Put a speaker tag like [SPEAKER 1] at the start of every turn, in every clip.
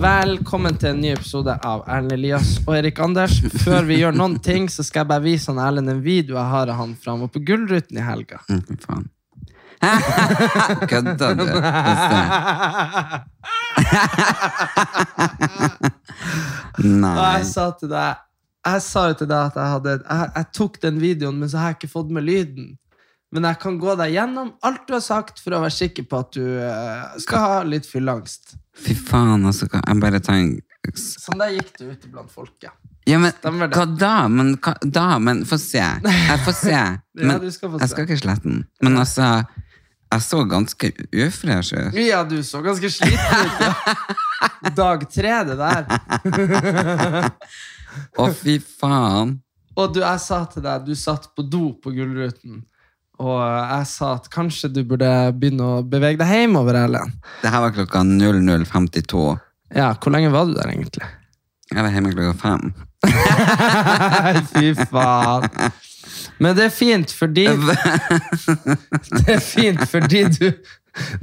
[SPEAKER 1] Velkommen til en ny episode av Erlend Elias og Erik Anders. Før vi gjør noen ting, så skal jeg bare vise han Erlend en video jeg har av han fra han var på Gullruten i helga.
[SPEAKER 2] Mm, faen. Kødda du?
[SPEAKER 1] Og
[SPEAKER 2] Nei.
[SPEAKER 1] jeg sa til deg Jeg sa jo til deg at jeg hadde Jeg, jeg tok den videoen, men så har jeg ikke fått med lyden. Men jeg kan gå deg gjennom alt du har sagt, for å være sikker på at du eh, skal ha litt fyllangst.
[SPEAKER 2] Fy faen, altså. hva- Jeg bare tar en
[SPEAKER 1] Sånn der gikk det ute blant folket.
[SPEAKER 2] Ja, men
[SPEAKER 1] Stemmer det.
[SPEAKER 2] hva da? Men hva da? Men få se. Jeg får se. Men
[SPEAKER 1] du skal få
[SPEAKER 2] jeg
[SPEAKER 1] se.
[SPEAKER 2] skal ikke slette den. Men altså, jeg så ganske ufresh ut.
[SPEAKER 1] Ja, du så ganske sliten ut. ja. Dag tre, det der.
[SPEAKER 2] Å, fy faen.
[SPEAKER 1] Og du, jeg sa til deg, du satt på do på Gullruten, og jeg sa at kanskje du burde begynne å bevege deg hjemover, Erlend.
[SPEAKER 2] Det her var klokka 00.52.
[SPEAKER 1] Ja, hvor lenge var du der egentlig?
[SPEAKER 2] Jeg var hjemme klokka fem.
[SPEAKER 1] Fy faen. Men det er fint fordi Det er fint fordi du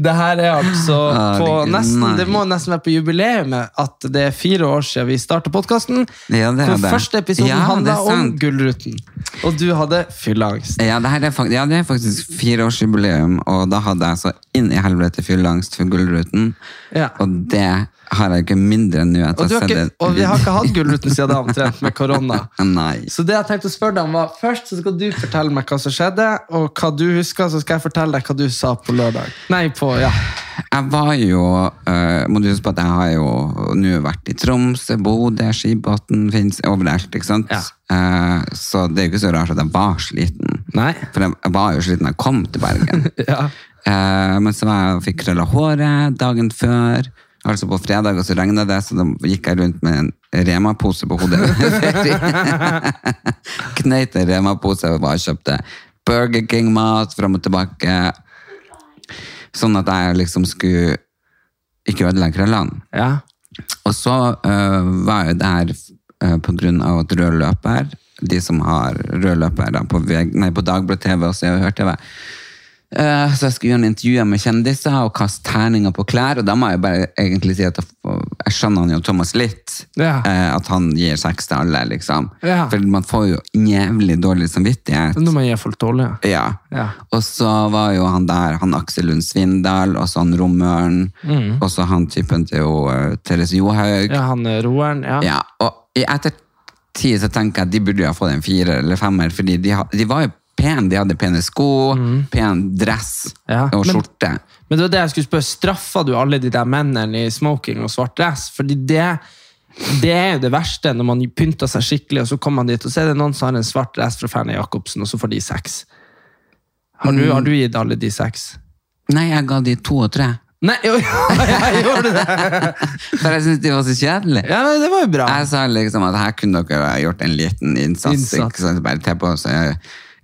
[SPEAKER 1] Det her er altså på
[SPEAKER 2] Herregud,
[SPEAKER 1] nesten
[SPEAKER 2] nei.
[SPEAKER 1] Det må nesten være på jubileumet at det er fire år siden vi starta podkasten.
[SPEAKER 2] Ja, det er
[SPEAKER 1] Hvor
[SPEAKER 2] det.
[SPEAKER 1] første episoden
[SPEAKER 2] Ja, det er
[SPEAKER 1] handla om
[SPEAKER 2] sant.
[SPEAKER 1] Gullruten. Og du hadde fylleangst.
[SPEAKER 2] Ja, det, her er faktisk, ja, det er faktisk fireårsjubileum, og da hadde jeg så inn i helvete fylleangst for Gullruten.
[SPEAKER 1] Ja.
[SPEAKER 2] Og det har jeg ikke mindre enn nå. etter
[SPEAKER 1] Og, du
[SPEAKER 2] å ha
[SPEAKER 1] har
[SPEAKER 2] sett
[SPEAKER 1] ikke,
[SPEAKER 2] det.
[SPEAKER 1] og vi har ikke hatt Gullruten siden da, omtrent, med korona.
[SPEAKER 2] Nei.
[SPEAKER 1] Så det jeg tenkte å spørre deg om var Først så skal du fortelle meg hva som skjedde, og hva du husker, så skal jeg fortelle deg hva du sa på lørdag. Nei, på, ja.
[SPEAKER 2] Jeg var jo eh, Må du huske på at jeg har jo nå vært i Tromsø, Bodø, Skibotn, finnes overalt, ikke sant?
[SPEAKER 1] Ja.
[SPEAKER 2] Eh, så det er jo ikke så rart at jeg var sliten.
[SPEAKER 1] Nei.
[SPEAKER 2] For jeg, jeg var jo sliten da jeg kom til Bergen.
[SPEAKER 1] Ja.
[SPEAKER 2] Eh, men så var jeg og fikk krølla håret dagen før. Altså på fredag, og så regna det, så da gikk jeg rundt med en Rema-pose på hodet. Kneit en Rema-pose og bare kjøpte Burger King-mat fram og tilbake. Sånn at jeg liksom skulle ikke ødelegge krøllene.
[SPEAKER 1] Ja.
[SPEAKER 2] Og så øh, var jeg der øh, på grunn av at rød løper, de som har rød løper da, på, VG nei, på Dagblad TV og CVH-TV, øh, så jeg skulle gjøre en intervju med kjendiser og kaste terninger på klær, og da må jeg bare egentlig si at jeg, jeg skjønner han jo Thomas litt,
[SPEAKER 1] Ja.
[SPEAKER 2] eh, at han gir sex til alle, liksom.
[SPEAKER 1] Ja.
[SPEAKER 2] For man får jo jævlig dårlig samvittighet.
[SPEAKER 1] må jeg gi folk dårlig.
[SPEAKER 2] Ja.
[SPEAKER 1] Ja.
[SPEAKER 2] Og så var jo han der, han Aksel Lund Svindal, og så han Romøren, og så han typen til jo, eh, Therese Johaug.
[SPEAKER 1] Mm. Ja, han er roeren. Ja.
[SPEAKER 2] Ja, og i ettertid så tenker jeg at de burde jo ha fått en fire eller femmer, fordi de, ha- de var jo pene, de hadde pene sko, pen dress
[SPEAKER 1] Mm. Ja,
[SPEAKER 2] og
[SPEAKER 1] men-
[SPEAKER 2] skjorte.
[SPEAKER 1] Men det var det jeg skulle spørre, straffa du alle de der mennene i smoking og svart dress? Fordi det, det er jo det verste, når man pynter seg skikkelig, og så kommer man dit, og så er det noen som har en svart dress fra Fernie Jacobsen, og så får de seks. Har du, har du gitt alle de seks?
[SPEAKER 2] Nei, jeg ga de to og tre,
[SPEAKER 1] Nei, jo, jeg gjorde det!
[SPEAKER 2] for jeg synes de var så kjedelige.
[SPEAKER 1] Ja, men det var jo bra.
[SPEAKER 2] Jeg sa liksom at her kunne dere ha gjort en liten innsats,
[SPEAKER 1] Innsats.
[SPEAKER 2] ikke sant? Bare te på oss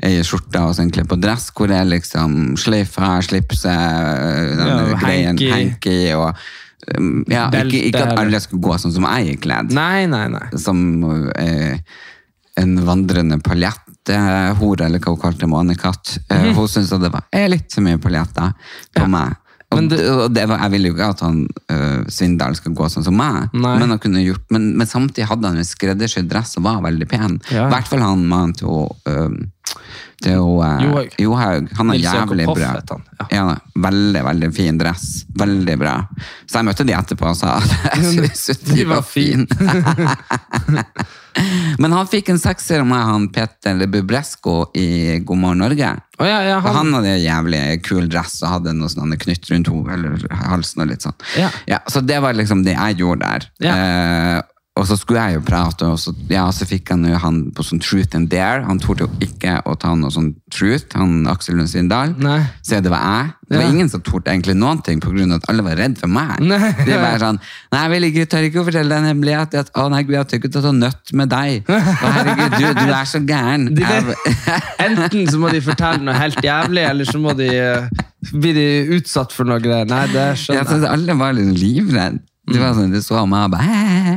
[SPEAKER 2] ei skjorte og så en kle på dress, hvor det er liksom sløyfa, slipse, eh, denne
[SPEAKER 1] Ja, og
[SPEAKER 2] greien,
[SPEAKER 1] hanky.
[SPEAKER 2] hanky, og... um, Ja, ikke,
[SPEAKER 1] Belte,
[SPEAKER 2] ikke at
[SPEAKER 1] eller-
[SPEAKER 2] alle skulle gå sånn som jeg er kledd.
[SPEAKER 1] Nei, nei, nei.
[SPEAKER 2] som eh, en vandrende paljetthore, eller hva hun kalte månekatt. Eh,
[SPEAKER 1] Mhm.
[SPEAKER 2] Hun syntes at det var eh, litt for mye paljetter på meg. Og,
[SPEAKER 1] Men
[SPEAKER 2] det, og det var, jeg ville jo ikke at han eh, Svindal skal gå sånn som meg,
[SPEAKER 1] Nei.
[SPEAKER 2] men, han kunne gjort, men, men samtidig hadde han en skreddersydd dress og var veldig pen. I
[SPEAKER 1] Ja.
[SPEAKER 2] hvert fall han mannen til hun, eh, Det er jo eh,
[SPEAKER 1] Johaug.
[SPEAKER 2] Johaug. Han er
[SPEAKER 1] Nils Jakob
[SPEAKER 2] jævlig
[SPEAKER 1] Hoff
[SPEAKER 2] bra.
[SPEAKER 1] heter han, ja.
[SPEAKER 2] Ja, da. veldig, veldig fin dress. Veldig bra. Så jeg møtte de etterpå og sa at jeg syntes de var fin. Men han fikk en sekser med han Peter Bubresko i God morgen Norge.
[SPEAKER 1] Å, ja, ja,
[SPEAKER 2] Og
[SPEAKER 1] han-
[SPEAKER 2] han, hadde en jævlig kul dress og hadde noe sånn han hadde knytt rundt ho, eller halsen og litt sånn.
[SPEAKER 1] Ja.
[SPEAKER 2] så det var liksom det jeg gjorde der.
[SPEAKER 1] Ja.
[SPEAKER 2] Eh, og så skulle jeg jo prate, og så, ja, så fikk han jo han på sånn truth and dare. Han torde jo ikke å ta noe sånn truth, han Aksel Lund Svindal.
[SPEAKER 1] Nei.
[SPEAKER 2] Så det var jeg. Det var
[SPEAKER 1] Ja.
[SPEAKER 2] ingen som torde egentlig noen ting, på grunn av at alle var redd for meg.
[SPEAKER 1] Nei.
[SPEAKER 2] Det var sånn, nei, jeg vil ikke, tør ikke å fortelle den hemmeligheten, at å nei, Gud, jeg tør ikke å ta nøtt med deg. Å, herregud, du, du er så gæren.
[SPEAKER 1] De
[SPEAKER 2] Jeg-
[SPEAKER 1] Enten så må de fortelle noe helt jævlig, eller så må de eh, bli de utsatt for noe greier. Nei, det
[SPEAKER 2] Jeg
[SPEAKER 1] skjønner jeg.
[SPEAKER 2] synes alle var litt livredde. De, var sånn, de så meg og bare «Hæ?»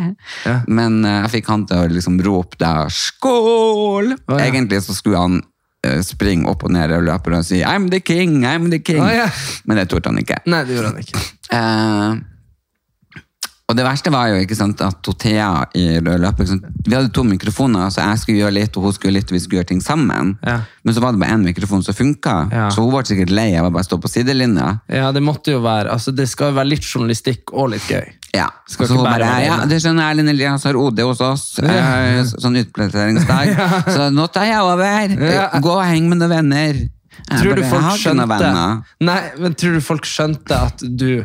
[SPEAKER 1] Ja.
[SPEAKER 2] Men eh, jeg fikk han til å liksom rope da 'skål'!
[SPEAKER 1] Å, ja.
[SPEAKER 2] Egentlig så skulle han eh, springe opp og ned og løpe og si 'I'm the king', 'I'm the king'.
[SPEAKER 1] Å, ja.
[SPEAKER 2] Men det torde han ikke.
[SPEAKER 1] Nei, det gjorde han ikke.
[SPEAKER 2] Eh, og det verste var jo ikke sant, at Thea i rød løper ikke sant? Vi hadde to mikrofoner, så jeg skulle gjøre litt, og hun skulle gjøre litt, og vi skulle gjøre ting sammen.
[SPEAKER 1] Ja.
[SPEAKER 2] Men så var det bare én mikrofon som funka,
[SPEAKER 1] Ja.
[SPEAKER 2] så hun ble sikkert lei av å bare stå på sidelinja.
[SPEAKER 1] Ja, det måtte jo være. Altså, det skal jo være litt journalistikk og litt gøy.
[SPEAKER 2] Ja, så
[SPEAKER 1] Skal ikke
[SPEAKER 2] hun
[SPEAKER 1] bare
[SPEAKER 2] bare,
[SPEAKER 1] være
[SPEAKER 2] ja,
[SPEAKER 1] alene.
[SPEAKER 2] det skjønner jeg, Erlend Elias har OD hos oss, eh, sånn utplasseringsdag, så nå tar jeg over, Eh,
[SPEAKER 1] Ja.
[SPEAKER 2] gå og heng med noen venner. Jeg
[SPEAKER 1] Tror du
[SPEAKER 2] bare,
[SPEAKER 1] folk
[SPEAKER 2] «Jeg har ikke noen
[SPEAKER 1] skjønte
[SPEAKER 2] venner».
[SPEAKER 1] Nei, men tror du folk skjønte at du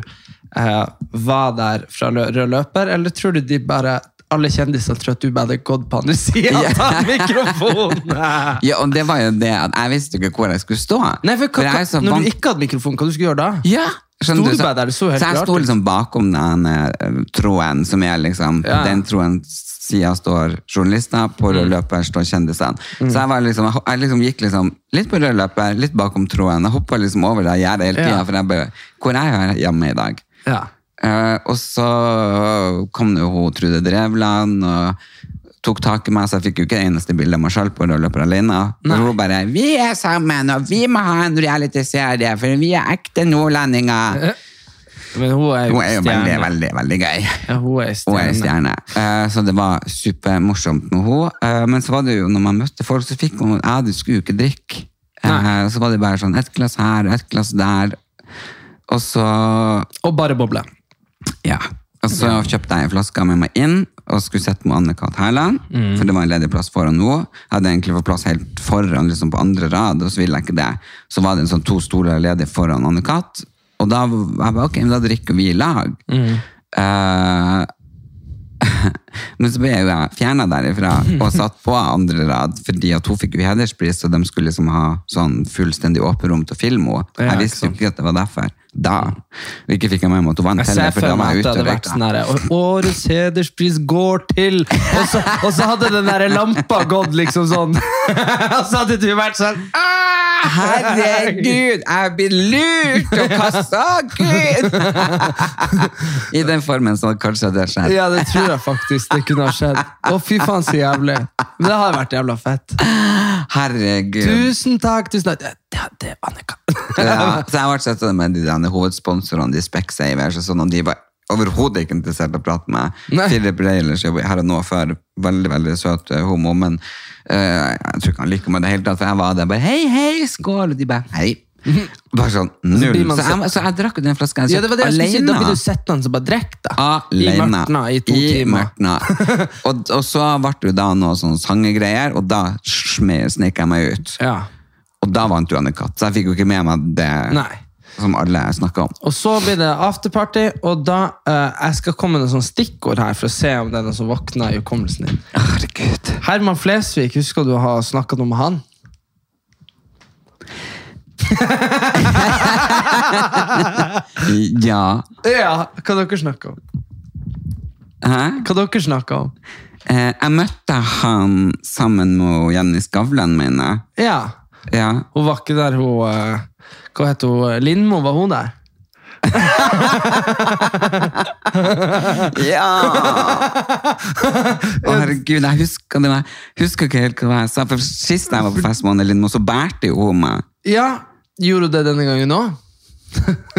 [SPEAKER 1] eh, var der fra lø- rød løper, eller tror du de bare alle kjendisene tror at du bare hadde gått på andre sida av mikrofonen?
[SPEAKER 2] Ja, og det var jo det at jeg visste ikke hvor jeg skulle stå.
[SPEAKER 1] Nei, for hva,
[SPEAKER 2] jeg er
[SPEAKER 1] hva,
[SPEAKER 2] så
[SPEAKER 1] når
[SPEAKER 2] vant-
[SPEAKER 1] du ikke hadde mikrofon, hva du skulle gjøre da?
[SPEAKER 2] Ja, skjønner
[SPEAKER 1] Sto du
[SPEAKER 2] så-
[SPEAKER 1] bare der? Det så helt
[SPEAKER 2] Så jeg
[SPEAKER 1] rart
[SPEAKER 2] sto
[SPEAKER 1] ut.
[SPEAKER 2] liksom bakom den eh, tråden som er liksom,
[SPEAKER 1] Ja. Mm.
[SPEAKER 2] på den tråden siden står journalister, på rød løper står kjendisene. Så jeg, var liksom, jeg, jeg liksom gikk liksom litt på rød løper, litt bakom tråden, jeg hoppet liksom over det jeg gjør det hele tiden,
[SPEAKER 1] Ja.
[SPEAKER 2] for jeg bare, hvor er jeg hjemme i dag?
[SPEAKER 1] Ja.
[SPEAKER 2] Eh, og så kom det jo hun Trude Drevland og tok tak i meg, så jeg fikk jo ikke det eneste bildet av meg selv på rødløper alene. Og hun bare 'Vi er sammen, og vi må ha en realityserie, for vi er ekte nordlendinger'.
[SPEAKER 1] Men hun er jo,
[SPEAKER 2] Hun er jo veldig,
[SPEAKER 1] Eh, stjerne.
[SPEAKER 2] veldig, veldig gøy.
[SPEAKER 1] Ja, hun er
[SPEAKER 2] Hun er en
[SPEAKER 1] stjerne.
[SPEAKER 2] stjerne. Eh, Så det var supermorsomt med henne. Men så var det jo, når man møtte folk, så fikk man Ja, du skulle jo ikke drikke. Eh,
[SPEAKER 1] Nei.
[SPEAKER 2] Så var det bare sånn ett glass her og ett glass der. Og så
[SPEAKER 1] Og bare boble.
[SPEAKER 2] ja. Og så kjøpte jeg en flaske med meg inn og skulle sette med Anne-Kat. Hærland.
[SPEAKER 1] Mm.
[SPEAKER 2] For det var en ledig plass foran henne. Jeg hadde egentlig fått plass helt foran liksom på andre rad, og så ville jeg ikke det. Så var det en sånn to stoler ledig foran Anne-Kat. Og da var jeg bare, ok, men da drikker vi i lag. Eh,
[SPEAKER 1] Mm.
[SPEAKER 2] men så ble jeg jo fjerna derifra og satt på andre rad, fordi at hun fikk jo hederspris, og de skulle liksom ha sånn fullstendig åpent rom til å filme henne.
[SPEAKER 1] Ja,
[SPEAKER 2] Jeg
[SPEAKER 1] ikke
[SPEAKER 2] visste jo
[SPEAKER 1] sant.
[SPEAKER 2] ikke at det var derfor. Da. Og ikke fikk jeg med meg at hun vant
[SPEAKER 1] Jeg ser
[SPEAKER 2] heller, for
[SPEAKER 1] for
[SPEAKER 2] da var
[SPEAKER 1] meg
[SPEAKER 2] jeg
[SPEAKER 1] at det
[SPEAKER 2] ute
[SPEAKER 1] hadde
[SPEAKER 2] og
[SPEAKER 1] vært
[SPEAKER 2] røykte.
[SPEAKER 1] sånn herre Årets hederspris går til Og så, og så hadde den derre lampa gått liksom sånn. Og så hadde du vært sånn «Ah!»
[SPEAKER 2] Herregud, jeg blir lurt og kasta! Gud! I den formen så hadde kanskje det skjedd.
[SPEAKER 1] Ja, det tror jeg faktisk det kunne ha skjedd. Å, fy faen, så jævlig. Men det hadde vært jævla fett.
[SPEAKER 2] Herregud.
[SPEAKER 1] Tusen takk, tusen takk. Det, det, det Annika.
[SPEAKER 2] Ja, så jeg ble sett med de der hovedsponsorene, de Specsavers og sånn, og de var overhodet ikke interessert i å prate med
[SPEAKER 1] Nei.
[SPEAKER 2] meg. Philip Reilers jobber her og nå før, veldig, veldig søt eh, homo, men eh, jeg tror ikke han liker meg i det hele tatt, for jeg var der bare, hei, hei, skål, og de bare, hei. Bare sånn, null.
[SPEAKER 1] blir man
[SPEAKER 2] Så jeg, så jeg drakk jo den flasken jeg
[SPEAKER 1] Ja, det var det jeg skulle si.
[SPEAKER 2] alene.
[SPEAKER 1] Da blir du sittende og bare drikke, da.
[SPEAKER 2] Alene.
[SPEAKER 1] I mørtna i to
[SPEAKER 2] I
[SPEAKER 1] timer.
[SPEAKER 2] mørtna. og, og så ble det jo da noe sånn sangegreier, og da sme- snek jeg meg ut.
[SPEAKER 1] Ja.
[SPEAKER 2] Og da vant jo Anne-Kat, så jeg fikk jo ikke med meg det
[SPEAKER 1] Nei.
[SPEAKER 2] som alle snakket om.
[SPEAKER 1] Og så blir det afterparty, og da eh, jeg skal komme med noen sånne stikkord her for å se om det er noe som våkner i hukommelsen din.
[SPEAKER 2] Herregud.
[SPEAKER 1] Herman Flesvig, husker du å ha snakka noe med han?
[SPEAKER 2] Ja.
[SPEAKER 1] Ja. Hva dere snakker om?
[SPEAKER 2] Hæ?
[SPEAKER 1] Hva dere snakker om?
[SPEAKER 2] Eh, jeg møtte han sammen med Jenny Skavlen, mener jeg.
[SPEAKER 1] Ja.
[SPEAKER 2] Ja.
[SPEAKER 1] Hun var ikke der, hun eh, Hva heter hun? Lindmo, var hun der?
[SPEAKER 2] ja. Å, herregud, jeg husker, det var, husker ikke helt hva jeg sa, for sist jeg var på fest med Anne Lindmo, så bærte jo hun meg.
[SPEAKER 1] Ja. Gjorde hun det denne gangen òg?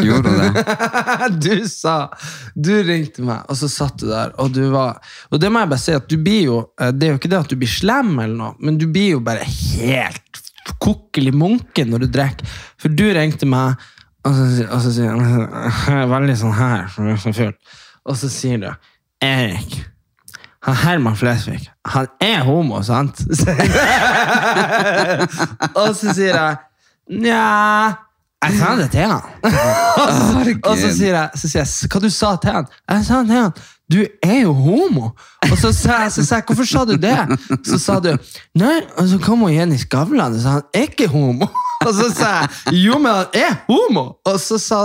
[SPEAKER 2] Gjorde hun det?
[SPEAKER 1] du sa Du ringte meg, og så satt du der, og du var Og det må jeg bare si, at du blir jo eh, Det er jo ikke det at du blir slem, eller noe, men du blir jo bare helt kokkelig munken når du drikker. For du ringte meg, og så, sier- og så sier han jeg er veldig sånn her, for jeg er så full. Og så sier du Erik. Han Herman Flesvig, han er homo, sant? og så sier jeg Nja Jeg sa det til han. Og så sier jeg, så sier jeg "S- hva du sa til han? Jeg sa til han, du er jo homo. Og så sa jeg, så sa jeg hvorfor sa du det? Så sa du, nei, og så kom hun igjen i Skavlan og sa han er ikke homo. Og så sa jeg, jo, men han er homo. Og så sa,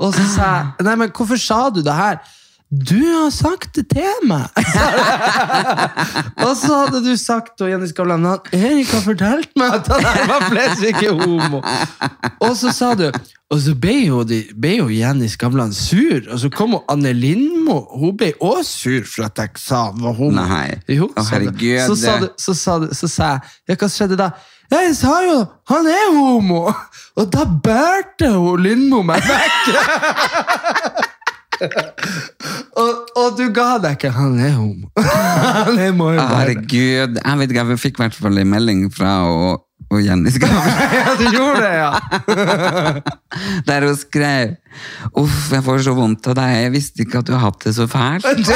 [SPEAKER 1] og så sa jeg, nei, men hvorfor sa du det her? Du har sagt det til meg. og så hadde du sagt til Jenny Skavlan, han Erik har fortalt meg at han her var flest ikke homo. Og så sa du Og så ble jo, de, ble jo Jenny Skavlan sur, og så kom jo Anne Lindmo. Hun ble òg sur for at jeg sa hun var homo.
[SPEAKER 2] Nei.
[SPEAKER 1] Jo,
[SPEAKER 2] Å,
[SPEAKER 1] sa du.
[SPEAKER 2] herregud,
[SPEAKER 1] Så, sa du,
[SPEAKER 2] det-
[SPEAKER 1] så, sa du, så sa jeg Ja, hva skjedde da? Ja, jeg sa jo han er homo! Og da bærte hun Lindmo meg vekk! og, og du ga deg ikke. Han er homo. han er må jo bære.
[SPEAKER 2] Herregud, jeg vet ikke, jeg fikk i hvert fall en melding fra og, og Jenny Skavlan,
[SPEAKER 1] Ja, du gjorde det, ja.
[SPEAKER 2] der hun skrev Uff, jeg får så vondt av deg, jeg visste ikke at du har hatt det så fælt.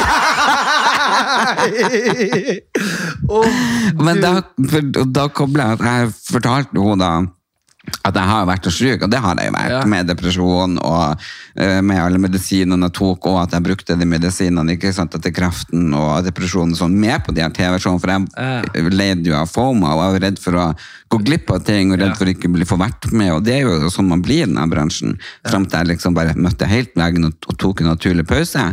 [SPEAKER 2] Men da, for, og da koblet jeg at jeg fortalte henne da at jeg har vært så syk, og det har jeg jo vært,
[SPEAKER 1] Ja.
[SPEAKER 2] med depresjon og eh, med alle medisinene jeg tok, og at jeg brukte de medisinene ikke sant, etter kraften og depresjonen sånn, med på de her TV-showene, for jeg led jo av FOMA, og jeg var redd for å gå glipp av ting, og redd for ikke å bli få vært med, og det er jo sånn man blir i denne bransjen, frem til jeg liksom bare møtte helt legen og, og tok en naturlig pause.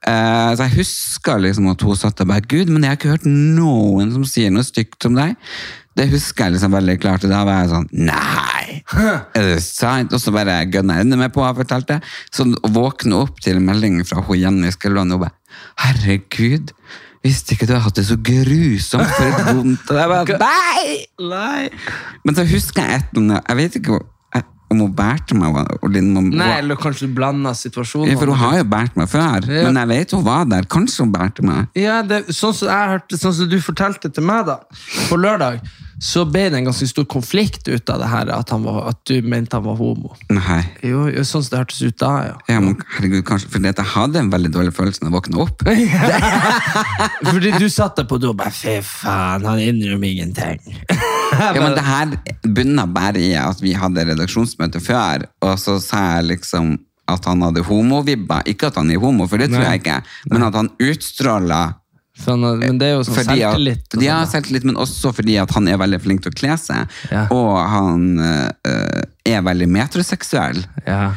[SPEAKER 2] Eh, så jeg husker liksom at hun satt og bare, Gud, men jeg har ikke hørt noen som sier noe stygt om deg. Det husker jeg liksom veldig klart, og da var jeg sånn, nei, er det sant? Og så bare gønner jeg enda mer på hva jeg fortalte. Så våkne opp til meldingen fra hun Jenny Skelland, og hun bare, herregud, visste ikke du har hatt det så grusomt for et vondt. Og jeg bare, nei!
[SPEAKER 1] Nei.
[SPEAKER 2] Men så husker jeg et, jeg vet ikke om hun bærte meg, og Lindmo.
[SPEAKER 1] Nei, eller kanskje du blanda situasjonen.
[SPEAKER 2] Ja, for hun har jo båret meg før,
[SPEAKER 1] Ja.
[SPEAKER 2] men jeg vet hun var der. Kanskje hun båret meg.
[SPEAKER 1] Ja, det, sånn, som jeg hørte, sånn som du fortalte til meg da, på lørdag, så ble det en ganske stor konflikt ut av det her, at, han var, at du mente han var homo.
[SPEAKER 2] Nei.
[SPEAKER 1] Jo, jo, sånn som det hørtes ut da, ja.
[SPEAKER 2] Ja, men herregud, kanskje, for jeg hadde en veldig dårlig følelse når jeg våkna opp.
[SPEAKER 1] Fordi du satt der på do og bare, fy faen, han innrømmer ingenting.
[SPEAKER 2] Ja, men det her bunna bare i at vi hadde redaksjonsmøte før, og så sa jeg liksom at han hadde homovibber. Ikke at han er homo, for det tror jeg ikke, men at han utstråla
[SPEAKER 1] Så han- men det er jo sånn
[SPEAKER 2] fordi at,
[SPEAKER 1] selvtillit. og sånn,
[SPEAKER 2] ja,
[SPEAKER 1] da.
[SPEAKER 2] selvtillit, men også fordi at han er veldig flink til å kle seg,
[SPEAKER 1] Ja.
[SPEAKER 2] og han eh, er veldig metroseksuell.
[SPEAKER 1] Ja.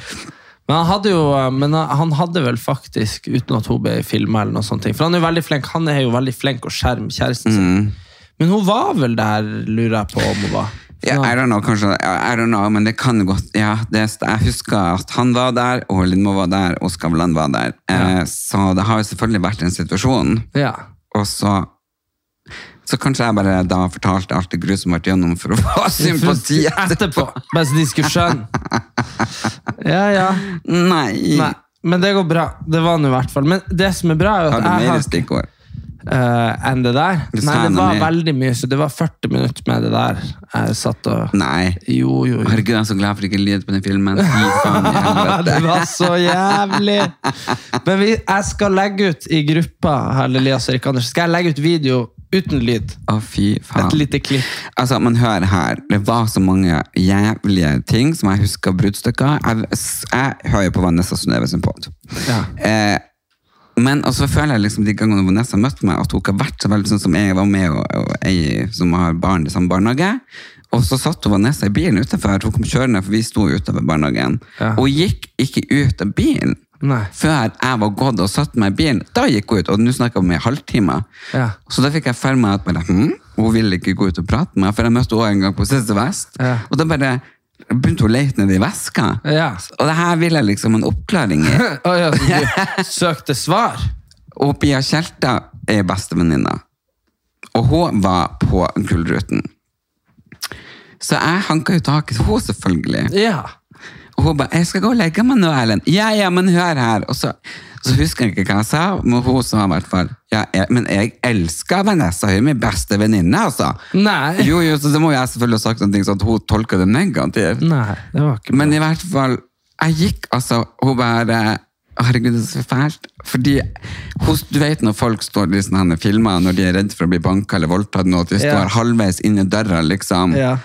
[SPEAKER 1] Men han hadde jo eh, men han hadde vel faktisk, uten at hun ble filma eller noe sånt For han er jo veldig flink, han er jo veldig flink å skjerme kjæresten sin. Men hun var vel der, lurer jeg på om hun var. Sånn For
[SPEAKER 2] Mm. Ja,
[SPEAKER 1] nå-
[SPEAKER 2] I don't know, kanskje, I don't know, men det kan godt ja, det, Jeg husker at han var der, og Lindmo var der, og Skavlan var der. Eh, så det har jo selvfølgelig vært en situasjon.
[SPEAKER 1] ja.
[SPEAKER 2] Og så Så kanskje jeg bare da fortalte alt det grusomme jeg har vært gjennom for å få sympati
[SPEAKER 1] etterpå. Bare så de skulle skjønne. Ja, ja.
[SPEAKER 2] Nei.
[SPEAKER 1] Nei. Men det går bra. Det var nå i hvert fall. Men det som er bra, er jo
[SPEAKER 2] Har
[SPEAKER 1] at
[SPEAKER 2] du
[SPEAKER 1] jeg
[SPEAKER 2] mer
[SPEAKER 1] har
[SPEAKER 2] stikkord?
[SPEAKER 1] eh, enn det der.
[SPEAKER 2] Du
[SPEAKER 1] Nei,
[SPEAKER 2] sa
[SPEAKER 1] det
[SPEAKER 2] noe
[SPEAKER 1] var
[SPEAKER 2] mer.
[SPEAKER 1] veldig mye, så det var 40 minutter med det der. Jeg satt og
[SPEAKER 2] Nei.
[SPEAKER 1] Jo, jo, jo.
[SPEAKER 2] Herregud, jeg er så glad for ikke lyd på den filmen. Fy faen i
[SPEAKER 1] Ja,
[SPEAKER 2] helvete.
[SPEAKER 1] det var så jævlig! Men vi, jeg skal legge ut i gruppa her, Elias og Erik Anders, skal jeg legge ut video uten lyd.
[SPEAKER 2] Å, fy faen.
[SPEAKER 1] Et lite klipp.
[SPEAKER 2] Altså, men hør her. Det var så mange jævlige ting som jeg husker bruddstykker. Jeg, jeg hører jo på Vanessa Synnøve sin pod.
[SPEAKER 1] Ja.
[SPEAKER 2] Eh, men også føler jeg liksom de gangene Vanessa har møtt meg, at hun ikke har vært så veldig sånn som jeg var med og, og ei som har barn i samme barnehage. Og så satt hun Vanessa i bilen utenfor. Hun kom kjørende, for vi sto utenfor barnehagen.
[SPEAKER 1] Ja.
[SPEAKER 2] Og gikk ikke ut av bilen.
[SPEAKER 1] Nei.
[SPEAKER 2] Før jeg var gått og satt meg i bilen, da gikk hun ut. Og nå snakker vi om en halvtime.
[SPEAKER 1] Ja.
[SPEAKER 2] Så da fikk jeg for meg at bare, hm, hun ville ikke gå ut og prate med meg, for jeg møtte henne en gang på Sisse Vest.
[SPEAKER 1] Ja.
[SPEAKER 2] Og da bare begynte hun å lete nede i veska.
[SPEAKER 1] Ja.
[SPEAKER 2] Og det her vil jeg liksom en oppklaring i.
[SPEAKER 1] Å ja, så du søkte svar?
[SPEAKER 2] Og Pia Kjelta er bestevenninna. Og hun var på Gullruten. Så jeg hanka jo tak i henne, selvfølgelig.
[SPEAKER 1] Ja.
[SPEAKER 2] Og hun bare 'Jeg skal gå og legge meg nå, Erlend'. Ja, ja, men hør her. Og så Så husker jeg ikke hva jeg sa, men hun sa i hvert fall ja, jeg, Men jeg elsker Vanessa, hun er min beste venninne, altså.
[SPEAKER 1] Nei.
[SPEAKER 2] Jo, jo, så det må jeg selvfølgelig ha sagt noe sånn at hun tolka det negativt.
[SPEAKER 1] Nei, det var ikke
[SPEAKER 2] Men i hvert fall, jeg gikk altså, hun bare, herregud, det er så fælt. Fordi, hos, du vet når folk står i sånne her filmer, når de er redde for å bli banket eller voldtatt, og at de
[SPEAKER 1] Ja.
[SPEAKER 2] står halvveis inn i døra, liksom.
[SPEAKER 1] Ja.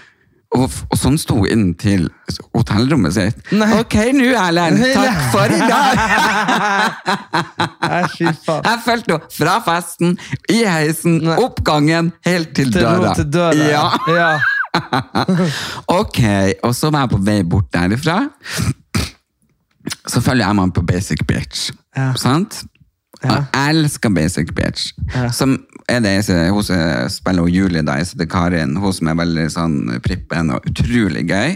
[SPEAKER 2] Og, og sånn sto hun inn til hotellrommet sitt.
[SPEAKER 1] Nei.
[SPEAKER 2] Ok, nå, Erlend, takk for i dag!
[SPEAKER 1] Nei, fy faen.
[SPEAKER 2] Jeg følte henne fra festen, i heisen,
[SPEAKER 1] Nei.
[SPEAKER 2] oppgangen, helt til
[SPEAKER 1] Til ro
[SPEAKER 2] døra.
[SPEAKER 1] til døra.
[SPEAKER 2] Ja.
[SPEAKER 1] ja.
[SPEAKER 2] Ok, og så var jeg på vei bort derifra. Så følger jeg meg på Basic Bitch.
[SPEAKER 1] Ja.
[SPEAKER 2] Sant?
[SPEAKER 1] Ja.
[SPEAKER 2] Jeg elsker Basic Bitch. Som er det eneste Hun som spiller hun Julie, da, jeg heter Karin. Hun som er veldig sånn prippen og utrolig gøy.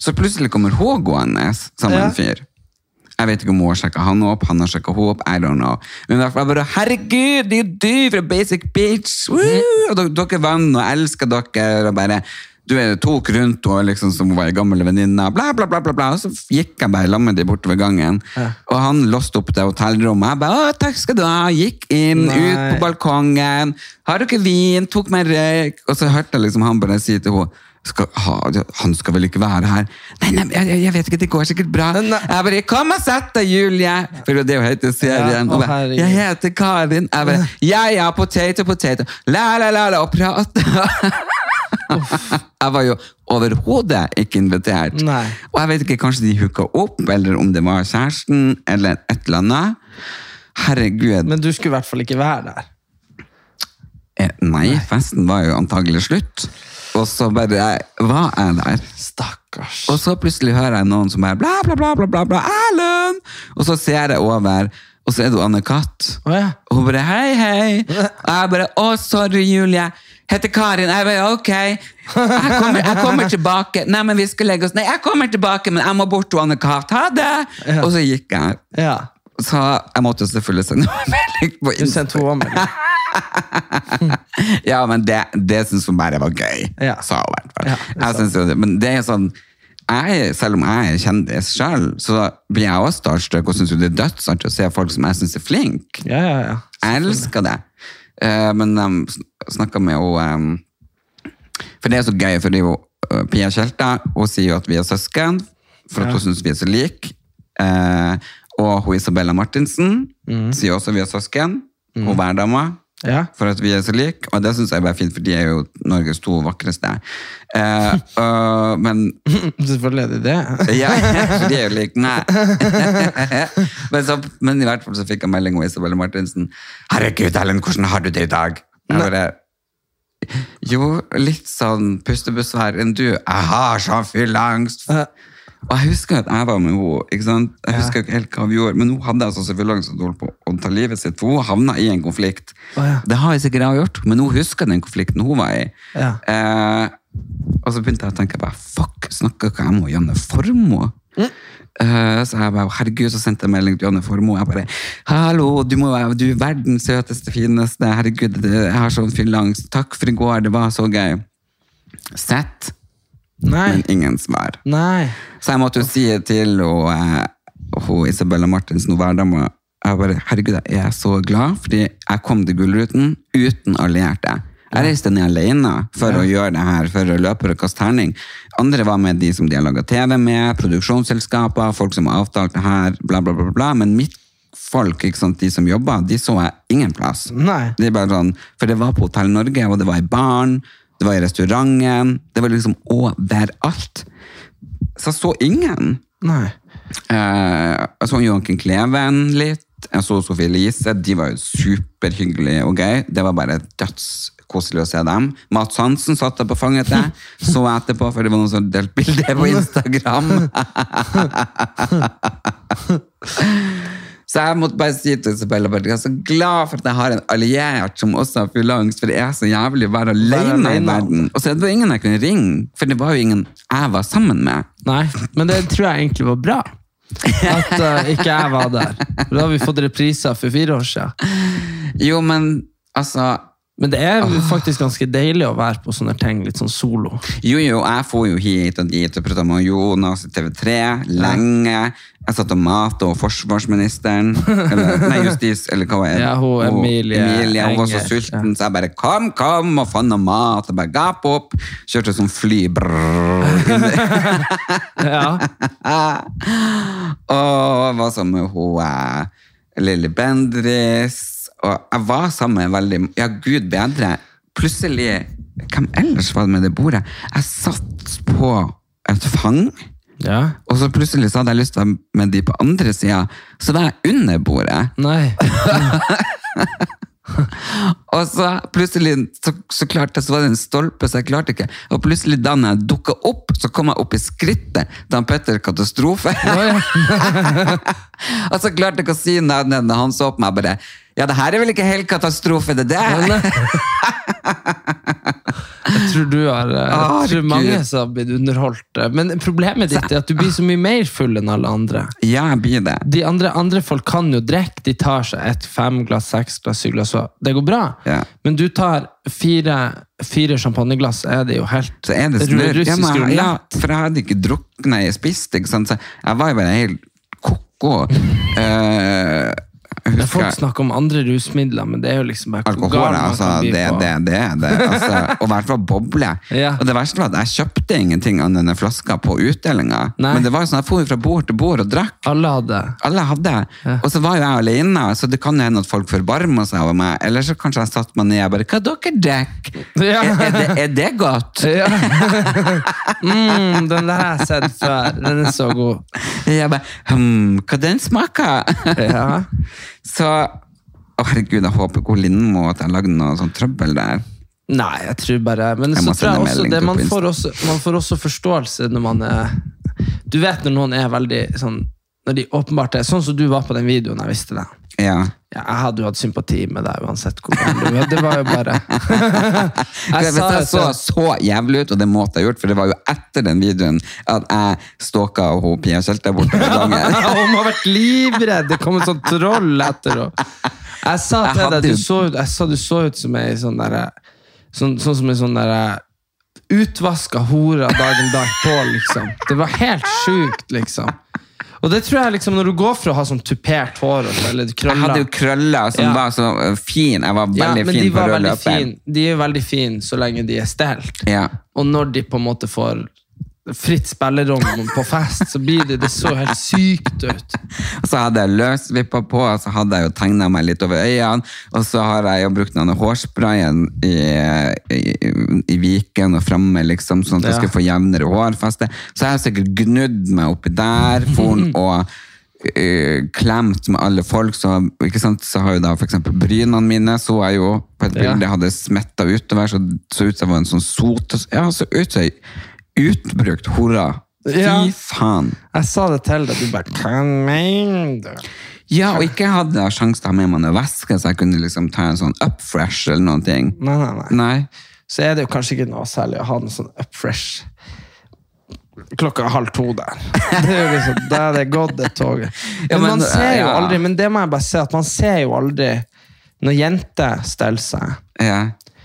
[SPEAKER 2] Så plutselig kommer hun gående sammen med
[SPEAKER 1] Ja.
[SPEAKER 2] en fyr. Jeg vet ikke om hun har sjekka han opp, han har sjekka hun opp. I don't know. Men i hvert fall jeg bare Herregud, det er jo du fra Basic Bitch! Woo! Og dere, dere er venn og elsker dere. og bare du er tok rundt og liksom som hun var en gammel venninne, bla, bla, bla, bla, bla. Og så gikk jeg bare sammen med dem bortover gangen. Og han låste opp det hotellrommet. Jeg bare, å, takk skal du ha. Gikk inn,
[SPEAKER 1] Nei.
[SPEAKER 2] ut på balkongen. Har dere vin? Tok meg en røyk. Og så hørte jeg liksom han bare si til henne skal, ha, han skal vel ikke være her? Nei, nei, jeg, jeg- jeg vet ikke, det går sikkert bra. Jeg bare, kom og sett deg, Julie! For det er jo helt i serien.
[SPEAKER 1] Ja,
[SPEAKER 2] Og
[SPEAKER 1] å,
[SPEAKER 2] bare,
[SPEAKER 1] herregud.
[SPEAKER 2] jeg heter Karin. Jeg bare, ja, ja, potato, potato. La, la, la, la, og prate. Jeg var jo overhodet ikke invitert.
[SPEAKER 1] Nei.
[SPEAKER 2] Og jeg vet ikke, kanskje de hooka opp, eller om det var kjæresten, eller et eller annet. Herregud.
[SPEAKER 1] Men du skulle i hvert fall ikke være der.
[SPEAKER 2] Eh, Nei, festen var jo antagelig slutt. Og så bare eh, var jeg der.
[SPEAKER 1] Stakkars.
[SPEAKER 2] Og så plutselig hører jeg noen som er bla, bla, bla, bla, bla, bla, Erlend! Og så ser jeg over, og så er det jo Anne-Katt.
[SPEAKER 1] Å ja.
[SPEAKER 2] Og hun bare hei, hei. Og jeg bare å, sorry, Julie. Heter Karin. Jeg bare ok. Jeg kommer, jeg kommer tilbake. Nei, men vi skal legge oss. Nei, jeg kommer tilbake, men jeg må bort til Anne-Katt. Ha det! Og så gikk jeg.
[SPEAKER 1] ja.
[SPEAKER 2] Så jeg måtte jo selvfølgelig sende en melding på
[SPEAKER 1] Du
[SPEAKER 2] Insta.
[SPEAKER 1] sendte henne melding.
[SPEAKER 2] Ja, men det, det syns hun bare var gøy.
[SPEAKER 1] Ja.
[SPEAKER 2] Sa hun i hvert fall.
[SPEAKER 1] Ja, det
[SPEAKER 2] jeg synes jo det, men det er sånn jeg, selv om jeg er kjendis sjøl, så blir jeg også starstruck og syns det er dødsartig å se folk som jeg syns er flinke.
[SPEAKER 1] Ja, ja, ja.
[SPEAKER 2] Jeg elsker det. Eh, men de snakka med henne eh, For det er så gøy, fordi hun, eh, Pia Tjelta hun sier jo at vi er søsken, for at hun syns vi er så like. Eh, og hun Isabella Martinsen
[SPEAKER 1] Mm.
[SPEAKER 2] sier også vi er søsken. Hun værdama.
[SPEAKER 1] Ja.
[SPEAKER 2] For at vi er så like, og det syns jeg bare er fint, for de er jo Norges to vakreste. Eh, øh, men
[SPEAKER 1] Selvfølgelig er det det.
[SPEAKER 2] ja, for de er jo like meg. men, så, men i hvert fall så fikk jeg melding om Isabelle Martinsen. 'Herregud, Ellen, hvordan har du det i dag?' Jeg bare, jo, litt sånn pustebussvær enn du. Jeg har sånn fyllangst. Og jeg husker at jeg var med henne. ikke sant? Jeg husker ikke helt hva vi gjorde, Men hun hadde altså så fyllangst at hun holdt på å ta livet sitt. For hun havna i en konflikt.
[SPEAKER 1] ja.
[SPEAKER 2] Det har jeg sikkert jeg gjort, men hun husker den konflikten hun var i.
[SPEAKER 1] Ja.
[SPEAKER 2] Eh, og så begynte jeg å tenke bare, fuck, snakker ikke jeg med Janne Formoe?
[SPEAKER 1] Mm.
[SPEAKER 2] Eh, så jeg bare, herregud, så sendte jeg melding til Janne Formoe. Jeg bare, hallo, du, må være, du er verdens søteste, fineste. Herregud, det- jeg har sånn fyllangst. Takk for i går, det var så gøy. Sett,
[SPEAKER 1] Nei.
[SPEAKER 2] men ingen svar.
[SPEAKER 1] Nei.
[SPEAKER 2] Så jeg måtte jo si til hun, eh, hun Isabella Martinsen, hun hverdama, jeg bare, herregud, jeg er så glad, fordi jeg kom til Gullruten uten allierte. Jeg reiste ned alene for å gjøre det her, for å løpe og kaste terning. Andre var med de som de har laget TV med, produksjonsselskaper, folk som har avtalt det her, bla bla bla, bla. men mitt folk, ikke sant, de som jobba, de så jeg ingen plass.
[SPEAKER 1] Nei.
[SPEAKER 2] Det er bare sånn, for det var på Hotell Norge, og det var i baren, det var i restauranten, det var liksom overalt. Så jeg så ingen.
[SPEAKER 1] Nei.
[SPEAKER 2] Eh, jeg så Joakim Kleven litt, jeg så Sofie Elise, de var jo superhyggelige og gøy. Det var bare dødskoselig å se dem. Mats Hansen satt der på fanget til, så jeg etterpå, for det var noen som delte bilder på Instagram. Så jeg måtte bare si til Isabella Bertil, jeg er så glad for at jeg har en alliert som også har full angst, for det er så jævlig å være alene i
[SPEAKER 1] alene.
[SPEAKER 2] verden. Og så er det jo ingen jeg kunne ringe, for det var jo ingen jeg var sammen med.
[SPEAKER 1] Nei. Men det tror jeg egentlig var bra. At eh, ikke jeg var der. For da har vi fått repriser for fire år siden.
[SPEAKER 2] Jo, men altså
[SPEAKER 1] Men det er faktisk ganske deilig å være på sånne ting litt sånn solo.
[SPEAKER 2] Jo, jo, jeg får jo hit og dit og prata med Jonas i TV3 lenge. Jeg satt og mata og forsvarsministeren. Eller, nei, justis, eller hva var det?
[SPEAKER 1] Ja, hun Emilie
[SPEAKER 2] Emilie hun var så
[SPEAKER 1] Enger,
[SPEAKER 2] sulten, så jeg bare kom, kom, og fant noe mat. Og bare gap opp. Kjørte sånn fly. Brrr,
[SPEAKER 1] Ja.
[SPEAKER 2] og var sammen med hun eh, Lilly Bendriss. Og jeg var sammen med veldig Ja, gud bedre. Plutselig Hvem ellers var det med det bordet? Jeg satt på et fang.
[SPEAKER 1] ja.
[SPEAKER 2] Og så plutselig så hadde jeg lyst til å være med de på andre sida, så var jeg under bordet.
[SPEAKER 1] Nei.
[SPEAKER 2] Og så plutselig så, så klarte jeg, så var det en stolpe, så jeg klarte ikke. Og plutselig da når jeg dukka opp, så kom jeg opp i skrittet til han Petter Katastrofe. og så klarte jeg ikke å si noe annet enn han så på meg og bare Ja, det her er vel ikke helt katastrofe, det der?
[SPEAKER 1] Jeg tror du har eh, Jeg tror
[SPEAKER 2] Herregud.
[SPEAKER 1] mange som har blitt underholdt. eh, Men problemet ditt er at du blir så mye mer full enn alle andre.
[SPEAKER 2] Ja, jeg blir det.
[SPEAKER 1] De andre, andre folk kan jo drikke. De tar seg et fem glass, seks glass, syv glass. og Det går bra.
[SPEAKER 2] Ja.
[SPEAKER 1] Men du tar fire, fire champagneglass, er det jo helt
[SPEAKER 2] Så er det
[SPEAKER 1] ru-
[SPEAKER 2] snurr. Ja,
[SPEAKER 1] russisk
[SPEAKER 2] men- ja,
[SPEAKER 1] rulett.
[SPEAKER 2] for jeg hadde ikke drukket når jeg spiste, ikke sant? Så jeg var jo bare helt ko-ko. Eh, jeg
[SPEAKER 1] Ja,
[SPEAKER 2] husker
[SPEAKER 1] Folk snakker om andre rusmidler, men det er jo liksom bare hvor
[SPEAKER 2] Alkohol,
[SPEAKER 1] gal man
[SPEAKER 2] altså,
[SPEAKER 1] kan bli
[SPEAKER 2] det,
[SPEAKER 1] på.
[SPEAKER 2] det, det, det. Altså, og i hvert fall boble.
[SPEAKER 1] Ja.
[SPEAKER 2] Og det verste var at jeg kjøpte ingenting annet enn en flaske på utdelinga.
[SPEAKER 1] Nei.
[SPEAKER 2] Men det var jo sånn, jeg for jo fra bord til bord og drakk.
[SPEAKER 1] Alle hadde
[SPEAKER 2] Alle hadde. Og så var jo jeg alene, så det kan jo hende at folk forbarma seg over meg. Eller så kanskje jeg satte meg ned og bare Hva dere drikker?
[SPEAKER 1] Ja.
[SPEAKER 2] Er, er, det- er det godt?
[SPEAKER 1] ja. mm, Den der har jeg sett før. Den er så god.
[SPEAKER 2] Jeg bare Hm, hva den smaker?
[SPEAKER 1] Ja.
[SPEAKER 2] Så å, herregud, jeg håper ikke Lindmo at jeg lagde noe sånn trøbbel der.
[SPEAKER 1] Nei, jeg tror bare Men
[SPEAKER 2] Jeg
[SPEAKER 1] så
[SPEAKER 2] må
[SPEAKER 1] tror jeg
[SPEAKER 2] sende
[SPEAKER 1] også
[SPEAKER 2] melding
[SPEAKER 1] det,
[SPEAKER 2] til
[SPEAKER 1] man,
[SPEAKER 2] Prinsen.
[SPEAKER 1] får også, man får også forståelse når man er Du vet når noen er veldig sånn Når de åpenbart er Sånn som du var på den videoen jeg visste det.
[SPEAKER 2] Ja.
[SPEAKER 1] Ja, jeg hadde jo hatt sympati med deg uansett hvor gammel du var. Det var jo bare
[SPEAKER 2] Jeg Hvis jeg så
[SPEAKER 1] til-
[SPEAKER 2] så jævlig ut, og det måtte jeg ha gjort, for det var jo etter den videoen at jeg stalka og hun Pia Kjelte borte ved gangen.
[SPEAKER 1] Hun må ha vært livredd! Det kom et sånt troll etter henne. Jeg sa
[SPEAKER 2] Jeg
[SPEAKER 1] til
[SPEAKER 2] hadde
[SPEAKER 1] deg
[SPEAKER 2] jo-
[SPEAKER 1] du så, ut- jeg sa du så ut som ei sånn derre sånn, sånn som ei sånn derre Utvaska hore av dagen dag på, liksom. Det var helt sjukt, liksom. Og det tror jeg liksom når du går fra å ha sånn tupert hår og så, eller
[SPEAKER 2] Jeg hadde jo
[SPEAKER 1] krøller
[SPEAKER 2] krøller som
[SPEAKER 1] Ja.
[SPEAKER 2] var så eh, fin. Jeg var
[SPEAKER 1] ja,
[SPEAKER 2] veldig
[SPEAKER 1] men
[SPEAKER 2] fin
[SPEAKER 1] de,
[SPEAKER 2] på
[SPEAKER 1] var
[SPEAKER 2] rød
[SPEAKER 1] veldig
[SPEAKER 2] løper.
[SPEAKER 1] fin, de er jo veldig fine så lenge de er stelt.
[SPEAKER 2] Ja.
[SPEAKER 1] Og når de på en måte får fritt spillerom på fest, så blir det, det så helt sykt ut.
[SPEAKER 2] Og så hadde jeg løsvippa på, og så hadde jeg jo tegna meg litt over øynene. Og så har jeg jo brukt denne hårsprayen i, i, i viken og framme, liksom, sånn at jeg
[SPEAKER 1] Ja.
[SPEAKER 2] skulle få jevnere hårfeste. Så jeg har sikkert gnudd meg oppi der, foren og eh, klemt med alle folk. Så, ikke sant? så har jo da for eksempel brynene mine, så jeg jo på et
[SPEAKER 1] Ja.
[SPEAKER 2] bilde hadde smetta utover, så så ut som jeg var en sånn sot. Ja, så ut som ei utbrukt hore. Fy
[SPEAKER 1] Ja.
[SPEAKER 2] faen.
[SPEAKER 1] Jeg sa det til deg, du bare Hva mener du?
[SPEAKER 2] Ja, og ikke hadde jeg sjanse til å ha med meg noe væske, så jeg kunne liksom ta en sånn upfresh eller noen ting.
[SPEAKER 1] Nei, nei, nei.
[SPEAKER 2] Nei.
[SPEAKER 1] Så er det jo kanskje ikke noe særlig å ha noe sånn upfresh klokka halv to der. Det er jo liksom, Da er det gått, det toget. Men,
[SPEAKER 2] Ja, men,
[SPEAKER 1] man ser jo
[SPEAKER 2] ja.
[SPEAKER 1] aldri, men det må jeg bare si, at man ser jo aldri Når jenter steller seg,
[SPEAKER 2] Ja.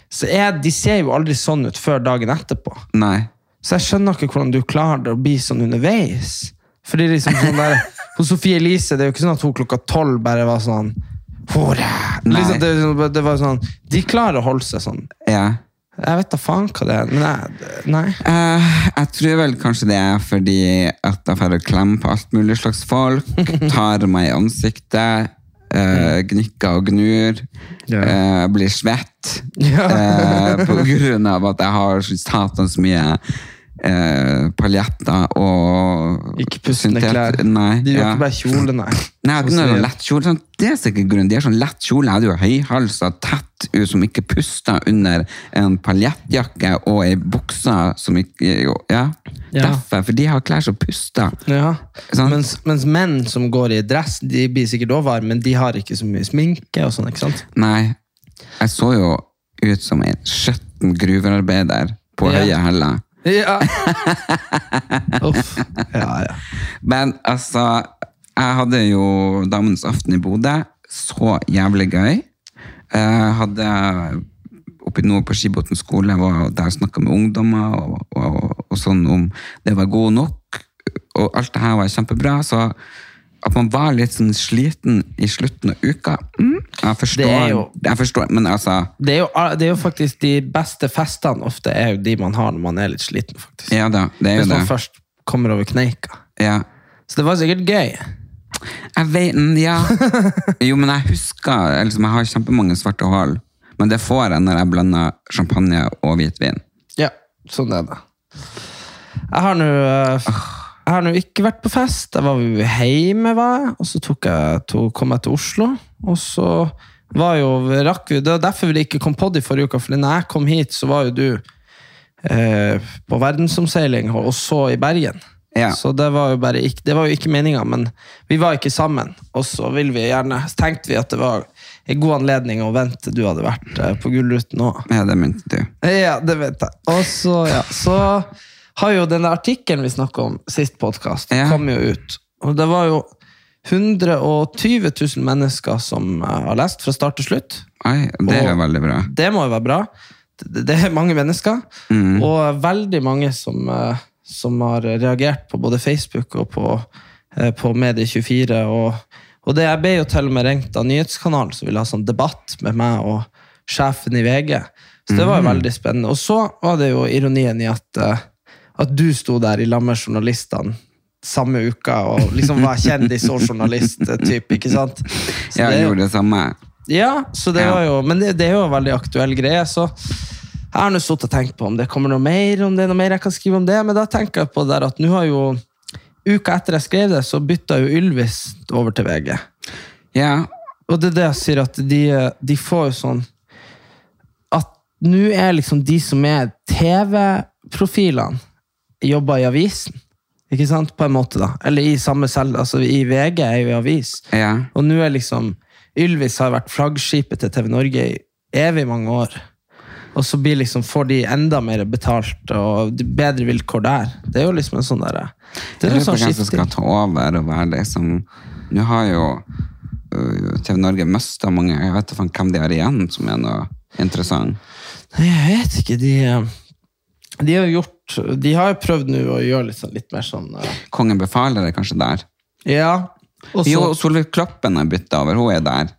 [SPEAKER 1] så er, de ser jo aldri sånn ut før dagen etterpå.
[SPEAKER 2] Nei.
[SPEAKER 1] Så jeg skjønner ikke hvordan du klarer det å bli sånn underveis. Fordi liksom sånn der, Hos Sofie Elise det er jo ikke sånn at hun klokka tolv bare var sånn Hore!
[SPEAKER 2] Nei.
[SPEAKER 1] Liksom, det, det var sånn, de klarer å holde seg sånn.
[SPEAKER 2] Ja.
[SPEAKER 1] Jeg vet da faen hva det er. Men jeg, nei.
[SPEAKER 2] Eh, jeg tror vel kanskje det er fordi at jeg får å klemme på alt mulig slags folk, tar meg i ansiktet, eh, gnikker og gnur,
[SPEAKER 1] Mm. Ja.
[SPEAKER 2] eh, blir svett,
[SPEAKER 1] Ja.
[SPEAKER 2] eh, på grunn av at jeg har så satans mye eh, paljetter og
[SPEAKER 1] Ikke pustende klær.
[SPEAKER 2] syntet- Nei,
[SPEAKER 1] De gjør
[SPEAKER 2] ja.
[SPEAKER 1] ikke bare kjole, nei.
[SPEAKER 2] Nei, jeg hadde ikke noe lett kjole. Sånn, det er sikkert grunnen. De har sånn lett kjole. Jeg hadde jo høyhalsa, tett ut, som ikke pusta under en paljettjakke og ei bukse som ikke jo, ja.
[SPEAKER 1] Ja.
[SPEAKER 2] Derfor. For de har klær som puster.
[SPEAKER 1] Ja.
[SPEAKER 2] Sant.
[SPEAKER 1] Mens, mens menn som går i dress, de blir sikkert også varme, men de har ikke så mye sminke. og sånn, ikke sant?
[SPEAKER 2] Nei, jeg så jo ut som en skjøtten gruvearbeider på
[SPEAKER 1] Ja.
[SPEAKER 2] høye hæler.
[SPEAKER 1] Ja. Uff. Ja, ja.
[SPEAKER 2] Men altså, jeg hadde jo Damens aften i Bodø. Så jævlig gøy. Jeg hadde Eh, oppe i nord på Skibotn skole. Jeg var der og snakka med ungdommer og, og, og sånn om det var god nok. Og alt det her var kjempebra. Så at man var litt sånn sliten i slutten av uka mm, jeg,
[SPEAKER 1] Det
[SPEAKER 2] forstår,
[SPEAKER 1] er jo-
[SPEAKER 2] jeg forstår, men altså
[SPEAKER 1] Det er, jo, ah, det er jo faktisk de beste festene ofte er jo de man har når man er litt sliten, faktisk.
[SPEAKER 2] Ja da, det er
[SPEAKER 1] Hvis
[SPEAKER 2] jo
[SPEAKER 1] man
[SPEAKER 2] det.
[SPEAKER 1] først kommer over kneika.
[SPEAKER 2] Ja.
[SPEAKER 1] Så det var sikkert gøy.
[SPEAKER 2] Jeg vet, mm, ja. Jo, men jeg husker eller liksom, Jeg har kjempemange svarte hull, men det får jeg når jeg blander champagne og hvitvin.
[SPEAKER 1] Ja, sånn er det. Jeg har nå eh, Jeg har nå ikke vært på fest. Jeg var jo hjemme, var jeg, og så tok jeg, to, kom jeg til Oslo. Og så var jo, rakk vi Det var derfor vi ikke kom på det i forrige uke, for når jeg kom hit, så var jo du eh, på verdensomseiling og og så i Bergen.
[SPEAKER 2] Ja.
[SPEAKER 1] Så det var jo bare ikke, det var jo ikke meninga, men vi var ikke sammen. Og så ville vi gjerne, så tenkte vi at det var en god anledning å vente du hadde vært eh, på Gullruten òg.
[SPEAKER 2] Ja, det mente du.
[SPEAKER 1] Ja, det vet jeg. Og så, ja, så har jo denne artikkelen vi snakket om sist podkast,
[SPEAKER 2] Ja.
[SPEAKER 1] kom jo ut. Og det var jo 120 000 mennesker som eh, har lest fra start til slutt.
[SPEAKER 2] Oi, det er jo
[SPEAKER 1] Og-
[SPEAKER 2] veldig bra.
[SPEAKER 1] Det må jo være bra. Det, det er mange mennesker, og veldig mange som, eh, som har reagert på både Facebook og på, eh, på Medie24. Og, og det jeg ble jo til og med ringt av nyhetskanalen, som ville ha sånn debatt med meg og sjefen i VG. Så det var jo veldig spennende. Og så var det jo ironien i at, eh, at du sto der i lag med journalistene samme uka og liksom var kjendis og journalist-type, ikke sant? Så
[SPEAKER 2] Jeg
[SPEAKER 1] det er jo-
[SPEAKER 2] gjorde det samme.
[SPEAKER 1] ja, så det
[SPEAKER 2] Ja.
[SPEAKER 1] var jo, men det, det er jo en veldig aktuell greie. Så jeg har nå sittet og tenkt på om det kommer noe mer, om det er noe mer jeg kan skrive om det. Men da tenker jeg på det der at nå har jo Uka etter jeg skrev det, så bytta jo Ylvis over til VG.
[SPEAKER 2] Ja,
[SPEAKER 1] Og det er det jeg sier, at de, de får jo sånn At nå er liksom de som er TV-profilene, jobber i avisen. Ikke sant? På en måte, da. Eller i samme selv. Altså, i VG er jo i avis.
[SPEAKER 2] ja.
[SPEAKER 1] Og nå er liksom Ylvis har vært flaggskipet til TV Norge i evig mange år. Og så blir liksom, får de enda mer betalt og de- bedre vilkår der. Det er jo liksom en sånn derre Det
[SPEAKER 2] Jeg
[SPEAKER 1] er en
[SPEAKER 2] lurer på
[SPEAKER 1] sånn
[SPEAKER 2] hvem som skal
[SPEAKER 1] skifting.
[SPEAKER 2] ta over og være liksom Nå har jo øh, TV Norge mista mange Jeg vet ikke hvem de har igjen som er noe interessant.
[SPEAKER 1] Nei, Jeg vet ikke, de eh, De har jo gjort De har jo prøvd nå å gjøre litt, sånn, litt mer sånn eh,
[SPEAKER 2] Kongen befaler er kanskje der.
[SPEAKER 1] Ja. Og
[SPEAKER 2] Jo,
[SPEAKER 1] så,
[SPEAKER 2] Solveig Kloppen har bytta over, hun er der.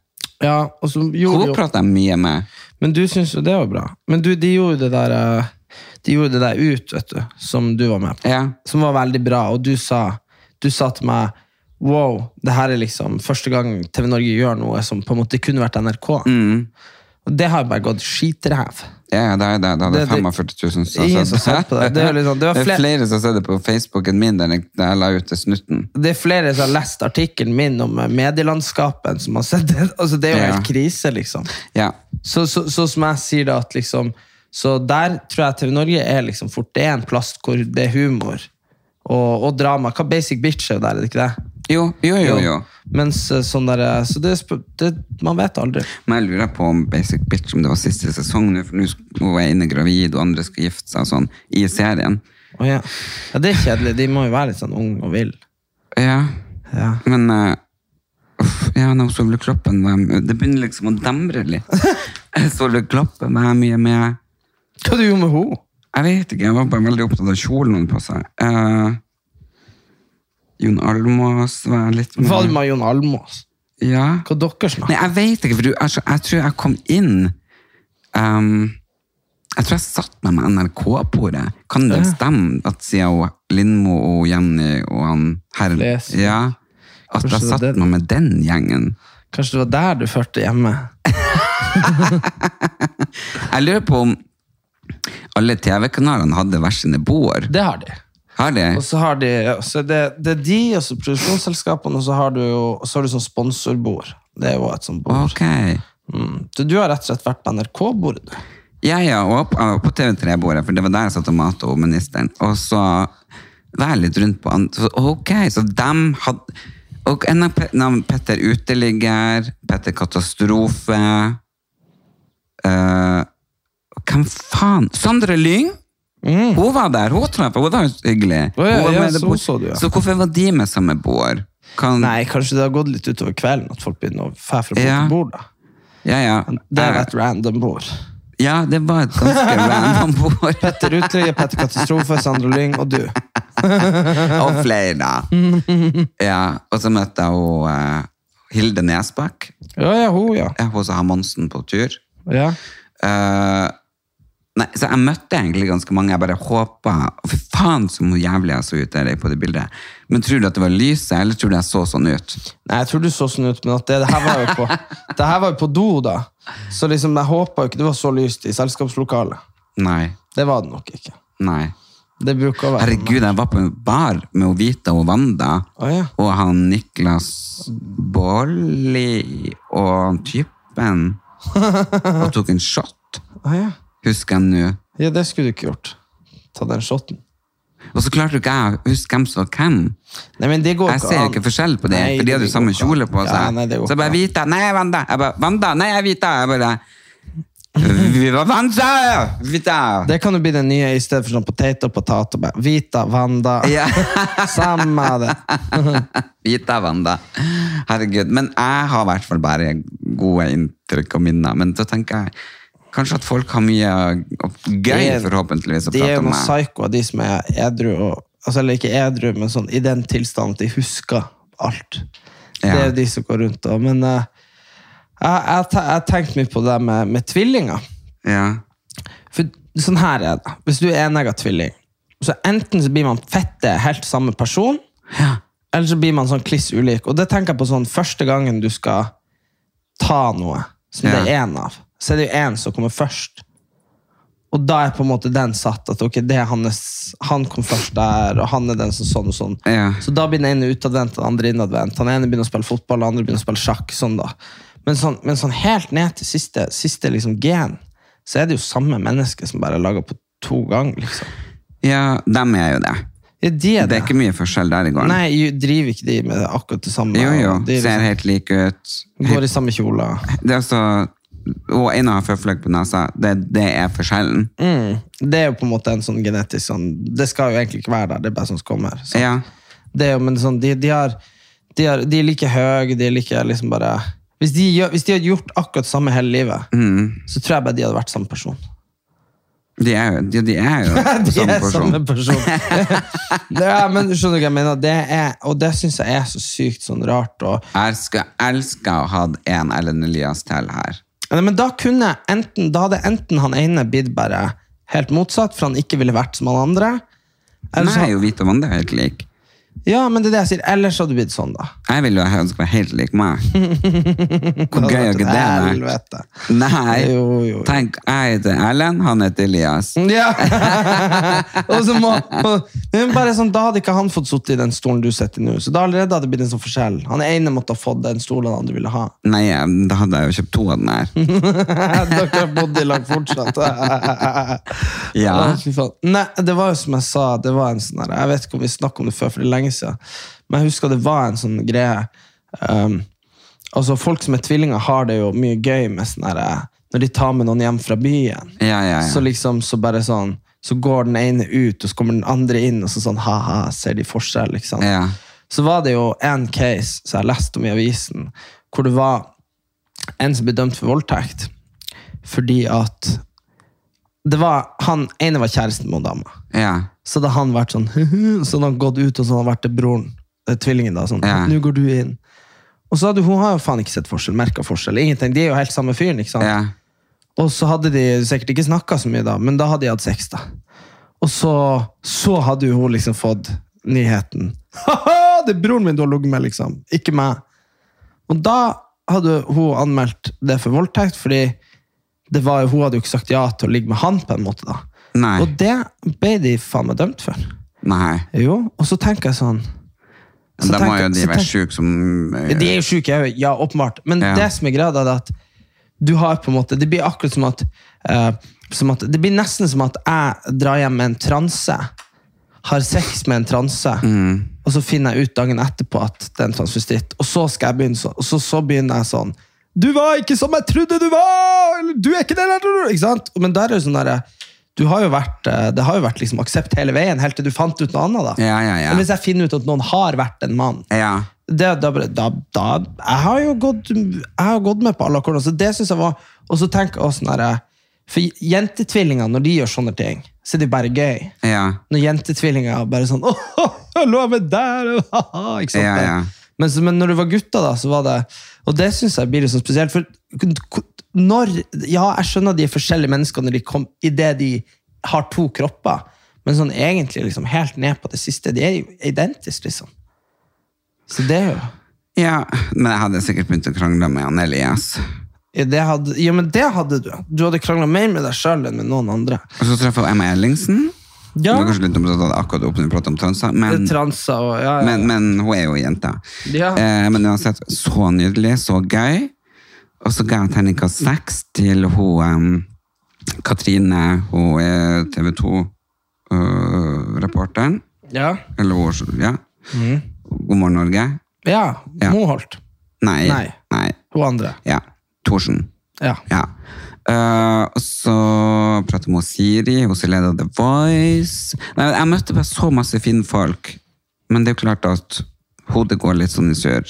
[SPEAKER 1] ja, og så gjorde
[SPEAKER 2] Hun
[SPEAKER 1] jo
[SPEAKER 2] prater jeg mye med.
[SPEAKER 1] Men du syns jo det var bra. Men du, de gjorde det der eh, De gjorde det der ut, vet du, som du var med på.
[SPEAKER 2] Ja.
[SPEAKER 1] som var veldig bra, og du sa, du sa til meg Wow, det her er liksom første gang TV Norge gjør noe som på en måte kunne vært NRK.
[SPEAKER 2] Mm.
[SPEAKER 1] Og det har bare gått skitrev.
[SPEAKER 2] Ja, ja, det er det. Det hadde
[SPEAKER 1] Det- det-
[SPEAKER 2] 45 000 som
[SPEAKER 1] Ingen
[SPEAKER 2] har
[SPEAKER 1] som
[SPEAKER 2] sett
[SPEAKER 1] ser på det. Det er jo liksom- det var
[SPEAKER 2] Det
[SPEAKER 1] flere-
[SPEAKER 2] er flere som har sett det på Facebooken min der jeg der jeg la ut det snutten.
[SPEAKER 1] Det er flere som har lest artikkelen min om eh, medielandskapen, som har sett det. Altså, det er jo
[SPEAKER 2] Ja.
[SPEAKER 1] helt krise, liksom.
[SPEAKER 2] Ja.
[SPEAKER 1] Så, så, så som jeg sier da, at liksom Så der tror jeg TV Norge er liksom fort det er en plass hvor det er humor og, og drama. Hva basic bitch er jo der, er det ikke det?
[SPEAKER 2] Jo, jo, jo. jo.
[SPEAKER 1] Mens eh, sånn der, eh, så det, er sp- det, man vet aldri.
[SPEAKER 2] Men jeg lurer på om Basic Bitch om det var siste sesong nå, for nå sk- nå er jeg inne gravid, og andre skal gifte seg og sånn, i serien.
[SPEAKER 1] Å ja. ja, det er kjedelig. De må jo være litt sånn ung og vill.
[SPEAKER 2] Ja,
[SPEAKER 1] Ja.
[SPEAKER 2] men eh, uff, ja, nå Solveig Kloppen var- Det begynner liksom å demre litt. Solveig Kloppen var jeg mye med.
[SPEAKER 1] Hva du gjorde med henne?
[SPEAKER 2] Jeg vet ikke, jeg var bare veldig opptatt av kjolen hun på seg. Eh, Jon Almaas var jeg litt med.
[SPEAKER 1] Var du med Jon Almaas?
[SPEAKER 2] Ja.
[SPEAKER 1] Hva dere
[SPEAKER 2] Nei,
[SPEAKER 1] snakker
[SPEAKER 2] jeg vet ikke, for du, altså, jeg tror jeg kom inn ehm, Jeg tror jeg satt meg med NRK-bordet. Kan det stemme at siden hun- Lindmo og Jenny og han her
[SPEAKER 1] Flesvig.
[SPEAKER 2] ja, At
[SPEAKER 1] Kanskje
[SPEAKER 2] jeg
[SPEAKER 1] det er
[SPEAKER 2] satt
[SPEAKER 1] den.
[SPEAKER 2] meg med den gjengen?
[SPEAKER 1] Kanskje det var der du førte hjemme?
[SPEAKER 2] Jeg lurer på om alle TV-kanalene hadde hver sine bord.
[SPEAKER 1] Det har de.
[SPEAKER 2] Har de?
[SPEAKER 1] Og så har de, ja, så det, det er de, og så produksjonsselskapene, og så har du jo og så har du sånn sponsorbord. Det er jo et sånt bord.
[SPEAKER 2] Ok.
[SPEAKER 1] Mm. Så du har rett og slett vært på NRK-bordet, du.
[SPEAKER 2] Ja, ja, og opp- og på TV3-bordet, for det var der jeg satt og matet og ministeren. Og så var jeg litt rundt på andre. Så, ok, så dem hadde... Og en av Pe- navn Petter Uteligger, Petter Katastrofe, eh, hvem faen? Sandra Lyng?
[SPEAKER 1] Mm.
[SPEAKER 2] Hun var der, hun traff, hun var jo hyggelig.
[SPEAKER 1] Å ja,
[SPEAKER 2] var
[SPEAKER 1] ja,
[SPEAKER 2] med det
[SPEAKER 1] så
[SPEAKER 2] bord.
[SPEAKER 1] så du, ja.
[SPEAKER 2] Så hvorfor var de med samme bord? Kan,
[SPEAKER 1] Nei, kanskje det har gått litt utover kvelden at folk begynner å fære fra bord
[SPEAKER 2] Ja.
[SPEAKER 1] til bord. da.
[SPEAKER 2] Ja, ja.
[SPEAKER 1] Det er
[SPEAKER 2] Jeg-
[SPEAKER 1] jo et random bord.
[SPEAKER 2] Ja, det var et ganske random bord.
[SPEAKER 1] Petter Uteligge, Petter Katastrofe, Sandra Lyng og du.
[SPEAKER 2] Og flere. Ja, og så møtte jeg hun, eh, Hilde Nesbakk.
[SPEAKER 1] Ja, ja, hun, ja.
[SPEAKER 2] Ja, Hun som har Monsen på tur.
[SPEAKER 1] ja.
[SPEAKER 2] Eh, nei, så jeg møtte egentlig ganske mange. Jeg bare håpa Fy faen, som hun jævlig jeg så ut der på det bildet. Men tror du at det var lyset, eller tror du jeg så sånn ut?
[SPEAKER 1] Nei, jeg tror du så sånn ut, men at det, det her var jo på Det her var jo på do, da. Så liksom, jeg håpa jo ikke det var så lyst i selskapslokalet.
[SPEAKER 2] Nei.
[SPEAKER 1] Det var det nok ikke.
[SPEAKER 2] Nei.
[SPEAKER 1] Det bruker å være
[SPEAKER 2] Herregud, jeg var på en bar med hun Vita og Wanda.
[SPEAKER 1] Å, ja.
[SPEAKER 2] Og han Niklas Baarli og han typen. Og tok en shot,
[SPEAKER 1] Ah, ja.
[SPEAKER 2] husker jeg nå.
[SPEAKER 1] ja, det skulle du ikke gjort. Ta den shoten.
[SPEAKER 2] Og så klarte ikke jeg å huske hvem som var hvem.
[SPEAKER 1] Nei, men det går
[SPEAKER 2] Jeg ser ikke forskjell på det,
[SPEAKER 1] Nei,
[SPEAKER 2] for de hadde
[SPEAKER 1] det
[SPEAKER 2] jo samme
[SPEAKER 1] går ikke an.
[SPEAKER 2] kjole på seg.
[SPEAKER 1] Ja, nei, det går
[SPEAKER 2] så jeg bare
[SPEAKER 1] ikke an.
[SPEAKER 2] Vita, nei, jeg er Wanda. Jeg bare, Wanda, nei, jeg er Vita. Jeg bare, vi var Wanda! Vita!
[SPEAKER 1] Det kan jo bli det nye i stedet for sånn potet og potet. og bare Vita, Wanda,
[SPEAKER 2] Ja,
[SPEAKER 1] samme det.
[SPEAKER 2] Vita Wanda. Herregud. Men jeg har i hvert fall bare gode inntrykk og minner. Men så tenker jeg kanskje at folk har mye gøy,
[SPEAKER 1] Det-
[SPEAKER 2] forhåpentligvis, å
[SPEAKER 1] De er
[SPEAKER 2] prate
[SPEAKER 1] jo
[SPEAKER 2] om
[SPEAKER 1] noen
[SPEAKER 2] meg.
[SPEAKER 1] psykoer, de som er edru og altså, Eller ikke edru, men sånn i den tilstanden at de husker alt. Det
[SPEAKER 2] Ja.
[SPEAKER 1] er jo de som går rundt og Men eh, jeg jeg te- jeg har tenkt mye på det med, med tvillinger.
[SPEAKER 2] Ja.
[SPEAKER 1] For sånn her er det. Hvis du er enegga tvilling, så enten så blir man fette helt samme person, eller så blir man sånn kliss ulik. Og det tenker jeg på sånn første gangen du skal ta noe, som det er
[SPEAKER 2] Ja.
[SPEAKER 1] én av, så er det jo én som kommer først. Og da er på en måte den satt at ok, det er hans, han kom først der, og han er den som sånn og sånn.
[SPEAKER 2] Ja.
[SPEAKER 1] Så da blir den ene utadvendt, den andre innadvendt. Han ene begynner å spille fotball, den andre begynner å spille sjakk. sånn da. Men sånn, men sånn helt ned til siste, siste liksom gen, så er det jo samme menneske som bare er laga på to ganger. liksom.
[SPEAKER 2] ja, dem er jo det.
[SPEAKER 1] Ja, de er
[SPEAKER 2] Det
[SPEAKER 1] det.
[SPEAKER 2] er ikke mye forskjell der i gården.
[SPEAKER 1] Nei, jo, driver ikke de med akkurat det samme?
[SPEAKER 2] Jo, jo.
[SPEAKER 1] De er
[SPEAKER 2] Ser
[SPEAKER 1] liksom,
[SPEAKER 2] helt like ut.
[SPEAKER 1] går i samme kjoler.
[SPEAKER 2] Det er altså Og en har føflekk på nesa. Det, det er forskjellen.
[SPEAKER 1] Mm. Det er jo på en måte en sånn genetisk sånn Det skal jo egentlig ikke være der, det er bare sånn som kommer. Så.
[SPEAKER 2] Ja.
[SPEAKER 1] Det er jo, men sånn, de, de, har, de, har, de er like høye, de er like liksom bare hvis de, gjør, hvis de hadde gjort akkurat samme hele livet, så tror jeg bare de hadde vært samme person.
[SPEAKER 2] Mm. De er jo, de, de er jo
[SPEAKER 1] De
[SPEAKER 2] samme
[SPEAKER 1] er
[SPEAKER 2] person.
[SPEAKER 1] samme person. det er, men skjønner du hva jeg mener? Det er, og det syns jeg er så sykt sånn rart. Og,
[SPEAKER 2] Jeg skulle elske å ha en Ellen Elias til her.
[SPEAKER 1] Nei, men da, kunne jeg enten, da hadde enten han ene blitt bare helt motsatt, for han ikke ville vært som han andre. Eller så-
[SPEAKER 2] Nei, jo Vito Wanda er helt lik.
[SPEAKER 1] Ja, men det er det jeg sier. Ellers hadde det blitt sånn, da.
[SPEAKER 2] Jeg ville jo ønske meg helt lik meg. Hvor
[SPEAKER 1] Det
[SPEAKER 2] gøy
[SPEAKER 1] hadde
[SPEAKER 2] er ikke det?
[SPEAKER 1] vært
[SPEAKER 2] vært?
[SPEAKER 1] et helvete.
[SPEAKER 2] Nei.
[SPEAKER 1] Jo, jo, jo.
[SPEAKER 2] Tenk, jeg heter Ellen, han heter Elias.
[SPEAKER 1] Ja! og så må, må- men bare sånn, Da hadde ikke han fått sitte i den stolen du sitter i nå. Så da allerede hadde det blitt en sånn forskjell. Han ene måtte ha fått den stolen han andre ville ha.
[SPEAKER 2] Nei, da hadde jeg jo kjøpt to av den her.
[SPEAKER 1] Dere bodde i lag fortsatt.
[SPEAKER 2] Ja.
[SPEAKER 1] Å, fy faen. Nei, det var jo som jeg sa, det var en sånn her, jeg vet ikke om vi snakket om det før, for det er lenge siden, men jeg husker det var en sånn greie. Um, altså, folk som er tvillinger har det jo mye gøy med sånn her, eh, når de tar med noen hjem fra byen.
[SPEAKER 2] Ja, ja, ja.
[SPEAKER 1] Så liksom, så bare sånn, så går den ene ut, og så kommer den andre inn, og så sånn, haha, ser de forskjell, liksom.
[SPEAKER 2] Ja.
[SPEAKER 1] Så var det jo en case, som jeg leste om i avisen, hvor det var en som ble dømt for voldtekt, fordi at det var, han ene var kjæresten med hun dama.
[SPEAKER 2] ja.
[SPEAKER 1] Så hadde han vært sånn Så hadde han gått ut og så hadde han vært til broren eh, Tvillingen da, sånn,
[SPEAKER 2] Ja.
[SPEAKER 1] nå går du inn Og så hadde hun har jo faen ikke sett forskjell Merket forskjell, ingenting, de er jo helt samme fyren Ikke sant?
[SPEAKER 2] ja.
[SPEAKER 1] Og så hadde de sikkert ikke snakket så mye da Men da hadde de hatt sex da Og så, så hadde jo hun liksom fått nyheten Haha, det er broren min du har ligget med liksom Ikke meg Og da hadde hun anmeldt det for voldtekt Fordi det var, jo- hun hadde jo ikke sagt ja til å ligge med han på en måte da
[SPEAKER 2] Nei.
[SPEAKER 1] Og det ble de faen meg dømt for
[SPEAKER 2] Nei.
[SPEAKER 1] jo, og så tenker jeg sånn så
[SPEAKER 2] Da må jo
[SPEAKER 1] tenker- så
[SPEAKER 2] de være
[SPEAKER 1] tenker-
[SPEAKER 2] sjuke som
[SPEAKER 1] De er jo syke, jeg vet. ja, åpenbart. Men
[SPEAKER 2] Ja.
[SPEAKER 1] det som er greia, da, det er at du har på en måte Det blir akkurat som at, eh, som at Det blir nesten som at jeg drar hjem med en transe, har sex med en transe,
[SPEAKER 2] Mm.
[SPEAKER 1] og så finner jeg ut dagen etterpå at det er en transvestitt, og så skal jeg begynne sånn. Og så, så begynner jeg sånn Du var ikke som jeg trodde du var! Eller, du er ikke den jeg trodde du-» Ikke sant? Men der er jo sånn derre du har jo vært, eh, Det har jo vært liksom aksept hele veien, helt til du fant ut noe annet. da.
[SPEAKER 2] Ja, ja, ja.
[SPEAKER 1] Eller hvis jeg finner ut at noen har vært en mann.
[SPEAKER 2] Ja.
[SPEAKER 1] Det, da, bare- da, da, jeg har jo gått, jeg har gått med på alle akkordene, så det synes jeg var Og så tenk også sånn her, For jentetvillinger, når de gjør sånne ting, så er det bare gøy.
[SPEAKER 2] Ja.
[SPEAKER 1] Når jentetvillinger bare sånn Åh, jeg lå med der! og haha», Ikke sant?
[SPEAKER 2] Ja, ja.
[SPEAKER 1] Men, så- men når det var gutter, da, så var det Og det syns jeg blir litt sånn spesielt. For k- når Ja, jeg skjønner de er forskjellige mennesker når de kom, i det de har to kropper, men sånn egentlig liksom helt ned på det siste, de er jo identiske, liksom. Så det er jo
[SPEAKER 2] ja. Men jeg hadde sikkert begynt å krangle med han Elias.
[SPEAKER 1] ja, det hadde, ja, men det hadde du. Du hadde krangla mer med deg sjøl enn med noen andre.
[SPEAKER 2] Og så traff jeg Emma Ellingsen.
[SPEAKER 1] Ja.
[SPEAKER 2] Hun var kanskje litt omsatt av akkurat åpnet prat om transer, men,
[SPEAKER 1] Transa og ja, ja.
[SPEAKER 2] men, men hun er jo jenta.
[SPEAKER 1] Ja.
[SPEAKER 2] Eh, men uansett, så nydelig, så gøy. Og så ga jeg terningkast seks til hun em, Katrine, hun er TV 2-reporteren.
[SPEAKER 1] ja.
[SPEAKER 2] Eller hun, ja.
[SPEAKER 1] Mm.
[SPEAKER 2] God morgen, Norge.
[SPEAKER 1] ja.
[SPEAKER 2] Ja.
[SPEAKER 1] Moholt.
[SPEAKER 2] Nei.
[SPEAKER 1] Nei. Hun andre.
[SPEAKER 2] Ja. Thorsen.
[SPEAKER 1] Ja.
[SPEAKER 2] Ja. Eh, og så prater jeg med Siri, hun som leder The Voice. Nei, jeg møtte bare så masse fine folk. Men det er jo klart at hodet går litt sånn i surr.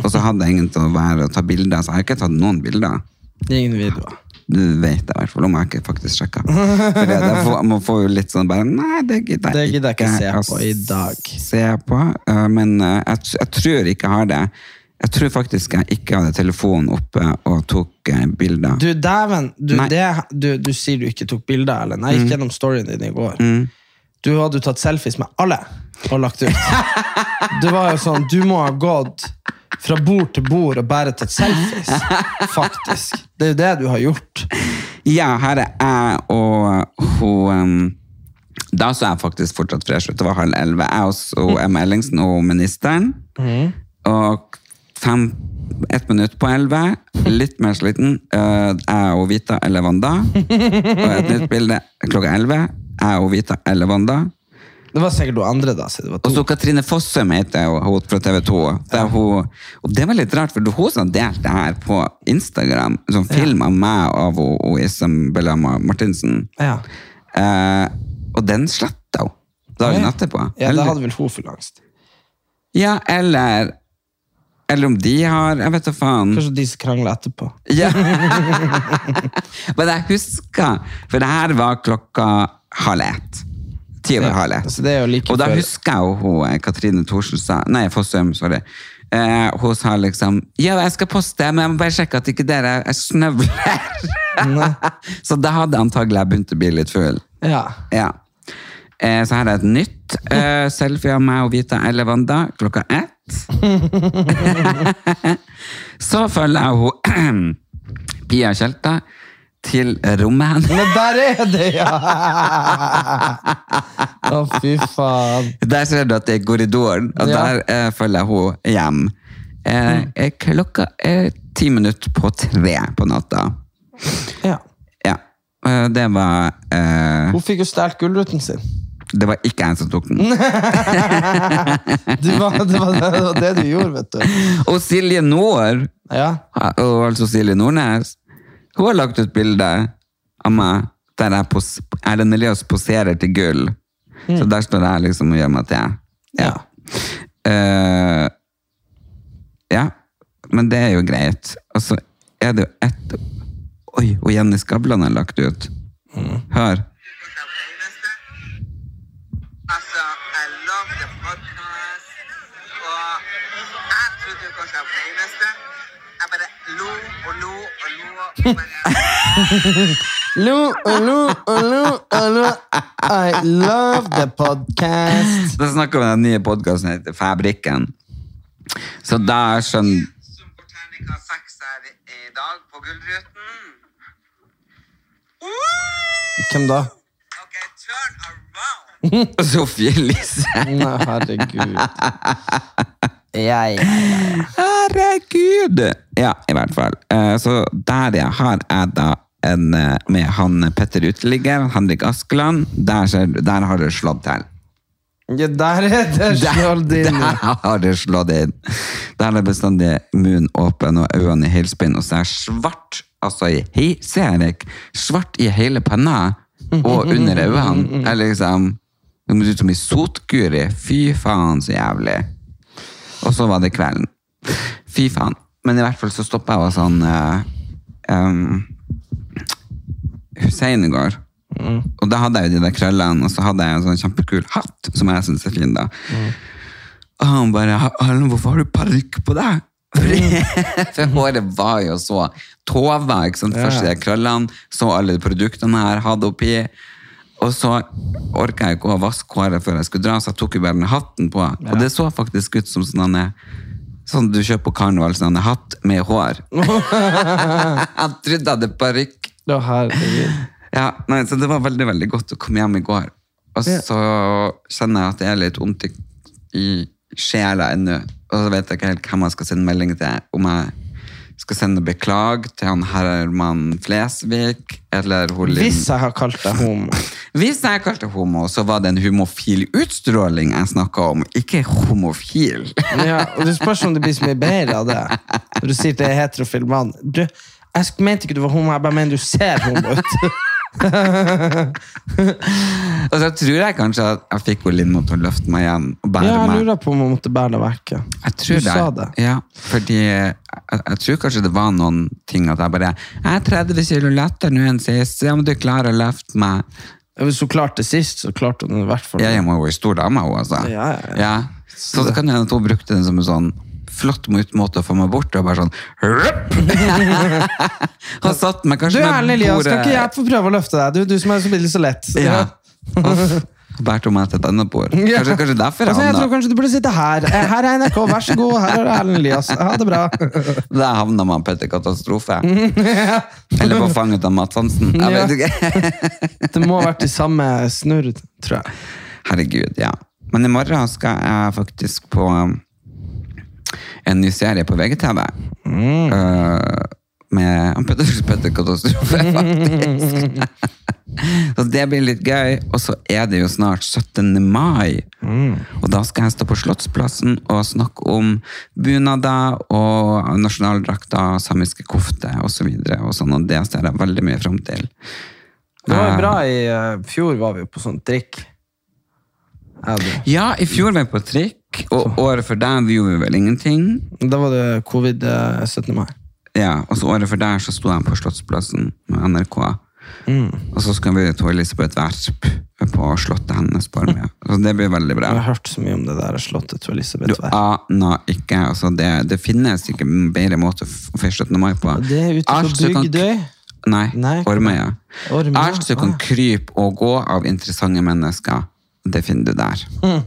[SPEAKER 2] Og så hadde jeg ingen til å være og ta bilder, så jeg har ikke tatt noen bilder.
[SPEAKER 1] Det er ingen videoer.
[SPEAKER 2] Du vet det i hvert fall, om jeg ikke faktisk sjekka. For det, det får, man får jo litt sånn bare Nei, det gidder
[SPEAKER 1] Det
[SPEAKER 2] jeg
[SPEAKER 1] gidder jeg ikke se
[SPEAKER 2] å
[SPEAKER 1] på i dag.
[SPEAKER 2] Se på, eh, men eh, jeg, t- jeg tror ikke jeg har det. Jeg tror faktisk jeg ikke hadde telefonen oppe og tok eh, bilder.
[SPEAKER 1] Du, dæven. Du,
[SPEAKER 2] Nei. Mm.
[SPEAKER 1] det, du, du sier du ikke tok bilder, Ellen. Jeg gikk gjennom storyen din i går. Du hadde jo tatt selfies med alle og lagt ut. Det var jo sånn, du må ha gått fra bord til bord og bare tatt selfies. Faktisk. Det er jo det du har gjort.
[SPEAKER 2] Ja, her er jeg og eh, hun em, Da så jeg faktisk fortsatt fresh ut. Det var halv elleve. Jeg og så Emma Ellingsen og ministeren. Og fem ett minutt på elleve, litt mer sliten, eh, jeg og Vita eller Wanda. Og et nytt bilde klokka elleve, jeg og Vita eller Wanda.
[SPEAKER 1] Det var sikkert noe andre, da. siden det var
[SPEAKER 2] Og
[SPEAKER 1] to.
[SPEAKER 2] så Katrine Fossum heter hun, hun fra TV 2. Der hun, og det var litt rart, for det var hun som delte det her på Instagram. En sånn film av meg av hun, hun Isabella Ma- Martinsen.
[SPEAKER 1] Ja.
[SPEAKER 2] Eh, og den sletta hun dagen
[SPEAKER 1] Ja.
[SPEAKER 2] etterpå.
[SPEAKER 1] ja, da
[SPEAKER 2] eller,
[SPEAKER 1] hadde vel hun full angst.
[SPEAKER 2] ja, eller Eller om de har Jeg vet da faen.
[SPEAKER 1] Kanskje de som krangler etterpå.
[SPEAKER 2] Ja. Men jeg husker, for det her var klokka halv ett. Ti over
[SPEAKER 1] Ja,
[SPEAKER 2] halv ett.
[SPEAKER 1] så Altså, det er jo like
[SPEAKER 2] og da
[SPEAKER 1] før-
[SPEAKER 2] husker jeg jo hun, eh, Katrine Thorsen sa, nei, Fossum, sorry. Eh, hun sa liksom, ja, jeg skal poste, men jeg må bare sjekke at ikke dere er snøvler. så da hadde antagelig jeg begynt å bli litt full.
[SPEAKER 1] Ja.
[SPEAKER 2] Ja. Eh, så her er et nytt eh, selfie av meg og Vita Elevanda klokka ett. så følger jeg hun Pia Kjelta til rommet hennes.
[SPEAKER 1] Men der er det, ja! Å, fy faen.
[SPEAKER 2] Der ser du at det er korridoren, og
[SPEAKER 1] Ja.
[SPEAKER 2] der eh, følger jeg hun hjem. Eh, eh, klokka er ti minutter på tre på natta.
[SPEAKER 1] Ja.
[SPEAKER 2] Ja. Eh, Det var, eh,
[SPEAKER 1] Hun fikk jo stjålet Gullruten sin.
[SPEAKER 2] det var ikke jeg som tok den.
[SPEAKER 1] Det var det, var, det, var det du gjorde, vet du.
[SPEAKER 2] Og Silje Nord
[SPEAKER 1] Ja.
[SPEAKER 2] og altså Silje Nordnes, hun har lagt ut bilde av meg der jeg pos Erlend Elias poserer til gull. Så der står jeg liksom og gjør meg til jeg. Ja. Eh, ja, men det er jo greit. Og så er det jo ett Oi, og Jenny Skavlan har lagt ut. Hør.
[SPEAKER 3] Altså, I love the podcast. Og jeg trodde jo kanskje jeg var den eneste. Jeg bare lo og lo og lo. og bare-
[SPEAKER 1] Lo, lo, lo, lo. I love the podcast.
[SPEAKER 2] Da snakker vi om den nye podkasten heter Fabrikken. Så da skjønner
[SPEAKER 3] Som får terningkast seks her i dag på Gullruten. Woo!
[SPEAKER 1] Hvem da?
[SPEAKER 3] Ok, turn around.
[SPEAKER 2] Sofie Elise.
[SPEAKER 1] Nei, herregud. Jeg
[SPEAKER 2] Herregud! Ja, i hvert fall. Eh, Så der ja, har jeg da en eh, med han Petter Uteligger, Henrik Askeland. Der, ser du- der har det slått til.
[SPEAKER 1] ja, Der er det skjold
[SPEAKER 2] Der
[SPEAKER 1] din.
[SPEAKER 2] har det slått inn! Der er bestandig munnen åpen og øynene i helspinn, og så er svart altså i hei, Ser jeg ikke? Svart i hele panna og under øynene. Det er liksom Det ser ut som ei sotguri. Fy faen, så jævlig. Og så var det kvelden. Fy faen. Men i hvert fall så stoppa jeg og sånn eh, em, Hussein i går. Og da hadde jeg jo de der krøllene, og så hadde jeg en sånn kjempekul hatt, som jeg syns er fin, da. Og han bare "Ha- Hallen, hvorfor har du parykk på deg? Fordi- For håret var jo så tova, ikke sant. Først de der krøllene, så alle de produktene jeg hadde oppi. Og så orka jeg ikke å vaske håret før jeg skulle dra, så jeg tok jo bare den hatten på. Og det så faktisk ut som sånn han er Sånn du kjøper på karneval, sånn han er hatt med hår. jeg trodde jeg hadde parykk.
[SPEAKER 1] Å, herregud.
[SPEAKER 2] Ja, nei, så det var veldig, veldig godt å komme hjem i går. Og så kjenner jeg at det er litt vondt i, i sjela ennå. Og så vet jeg ikke helt hvem jeg skal sende melding til. Om jeg skal sende beklag til han Herman Flesvig, eller hun Linn-
[SPEAKER 1] Hvis jeg har kalt deg homo
[SPEAKER 2] Hvis jeg kalte homo, så var det en homofil utstråling jeg snakka om, ikke homofil.
[SPEAKER 1] ja, og Det spørs om det blir så mye bedre av det. Når du sier til en heterofil mann Du, jeg sk- mente ikke du var homo, jeg bare mener du ser homo ut.
[SPEAKER 2] Og så tror jeg kanskje at jeg fikk hun Linn mot å løfte meg igjen og bære
[SPEAKER 1] Ja, jeg
[SPEAKER 2] meg.
[SPEAKER 1] lurer på om jeg måtte bære deg vekk. ja.
[SPEAKER 2] Jeg tror
[SPEAKER 1] du sa det.
[SPEAKER 2] Ja, fordi jeg, jeg tror kanskje det var noen ting at jeg bare Jeg er 30 kilo lettere nå enn sist, se om du klarer å løfte meg.
[SPEAKER 1] Hvis hun klarte det sist, så klarte hun det i hvert fall.
[SPEAKER 2] Ja, jeg må jo være stor dame, hun, altså.
[SPEAKER 1] Ja, ja, ja.
[SPEAKER 2] Så det kan hende at hun brukte den som en sånn flott mot- måte å få meg bort, og bare sånn «Rupp!» Hun satt meg
[SPEAKER 1] Du,
[SPEAKER 2] kanskje
[SPEAKER 1] Erlend Elias, skal ikke jeg få prøve å løfte deg? Du, du som er så billig så lett.
[SPEAKER 2] Ja. Uff. Bærte hun meg til et annet bord.
[SPEAKER 1] Ja.
[SPEAKER 2] Kanskje, kanskje derfor
[SPEAKER 1] Altså,
[SPEAKER 2] jeg
[SPEAKER 1] jeg tror
[SPEAKER 2] havna,
[SPEAKER 1] kanskje du burde sitte her. Eh, Her er NRK, vær så god. Her er Erlend Elias. Ha det bra.
[SPEAKER 2] der havna man på etter katastrofe. Eller på fanget av Mads Hansen. Jeg
[SPEAKER 1] Ja.
[SPEAKER 2] vet ikke.
[SPEAKER 1] Det må ha vært i samme snurr, tror jeg.
[SPEAKER 2] Herregud, ja. Men i morgen skal jeg faktisk på um, en ny serie på VGTV. Eh, med han Petter Petter Katastrofe, faktisk. så det blir litt gøy. Og så er det jo snart 17. mai. Og da skal jeg stå på Slottsplassen og snakke om bunader og nasjonaldrakter, samiske kofter osv. Og, så videre og, sånn, og det ser jeg veldig mye fram til.
[SPEAKER 1] Det var jo bra i eh, fjor, var vi jo på sånn drikk. Ja, du.
[SPEAKER 2] Ja, i fjor var jeg på trikk, og året før der gjorde vi vel ingenting.
[SPEAKER 1] Da var det covid eh, 17. mai.
[SPEAKER 2] Ja, og så året før der så sto jeg på Slottsplassen med NRK.
[SPEAKER 1] Mm.
[SPEAKER 2] Og så skal vi til Elisabeth Werp på slottet hennes på Armøya. Så det blir veldig bra.
[SPEAKER 1] Jeg har hørt så mye om det der slottet til
[SPEAKER 2] Du ah.
[SPEAKER 1] Elisabeth Werp.
[SPEAKER 2] aner ikke. Altså det, det finnes ikke en bedre måte å f- feire 17. mai på.
[SPEAKER 1] Det er ute
[SPEAKER 2] Alt du
[SPEAKER 1] på
[SPEAKER 2] kan-
[SPEAKER 1] Bygdøy.
[SPEAKER 2] Nei,
[SPEAKER 1] Nei,
[SPEAKER 2] Ormøya.
[SPEAKER 1] Ormøya,
[SPEAKER 2] Alt du kan
[SPEAKER 1] ah.
[SPEAKER 2] krype og gå av interessante mennesker, det finner du der.
[SPEAKER 1] Mm.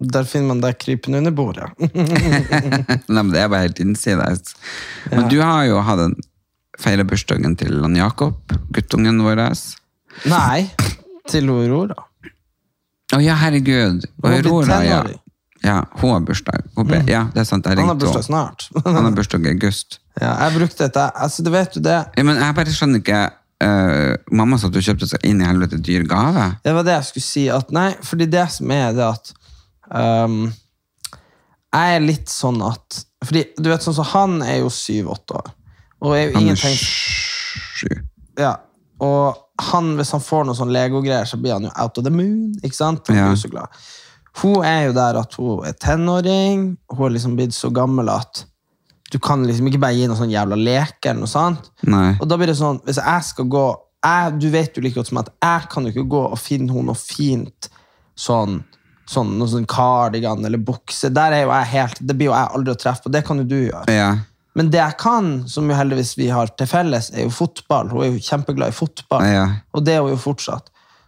[SPEAKER 1] Der finner man deg krypende under bordet.
[SPEAKER 2] Nei, men det er bare helt innsides. Men du har jo hatt en feire bursdagen til han Jakob, guttungen vår. Å
[SPEAKER 1] Nei, til Aurora.
[SPEAKER 2] ja, herregud. Og
[SPEAKER 1] Hun blir
[SPEAKER 2] Aurora, ja.
[SPEAKER 1] tenåring.
[SPEAKER 2] ja. Hun har bursdag. Hun ble, ja, det er sant. Jeg
[SPEAKER 1] Han har
[SPEAKER 2] ringte
[SPEAKER 1] bursdag
[SPEAKER 2] henne.
[SPEAKER 1] snart.
[SPEAKER 2] Han har bursdag i august.
[SPEAKER 1] Ja, jeg brukte dette. Altså, det vet du det.
[SPEAKER 2] Ja, men jeg bare skjønner ikke eh, Mamma sa at du kjøpte så inn i helvete dyr gave.
[SPEAKER 1] Det var det jeg skulle si. At, nei, fordi det som er det at um, Jeg er litt sånn at Fordi du vet sånn som Han er jo syv-åtte år. Og er jo
[SPEAKER 2] Han er
[SPEAKER 1] ingenting
[SPEAKER 2] sju.
[SPEAKER 1] ja, Og han, hvis han får noe sånn Lego-greier, så blir han jo out of the moon. Ikke sant? Han
[SPEAKER 2] Ja.
[SPEAKER 1] blir jo så glad. Hun er jo der at hun er tenåring. Hun er liksom blitt så gammel at du kan liksom ikke bare gi noe sånn jævla leke eller noe sånt.
[SPEAKER 2] Nei.
[SPEAKER 1] Og da blir det sånn, hvis jeg skal gå jeg, Du vet jo like godt som at jeg kan jo ikke gå og finne henne noe fint sånn, sånn, noe sånn cardigan eller bukse. Der er jo jeg helt, Det blir jo jeg aldri å treffe på. Det kan jo du gjøre.
[SPEAKER 2] Ja.
[SPEAKER 1] Men det jeg kan, som jo heldigvis vi har til felles, er jo fotball. Hun er jo kjempeglad i fotball,
[SPEAKER 2] Ja.
[SPEAKER 1] og det er hun jo fortsatt.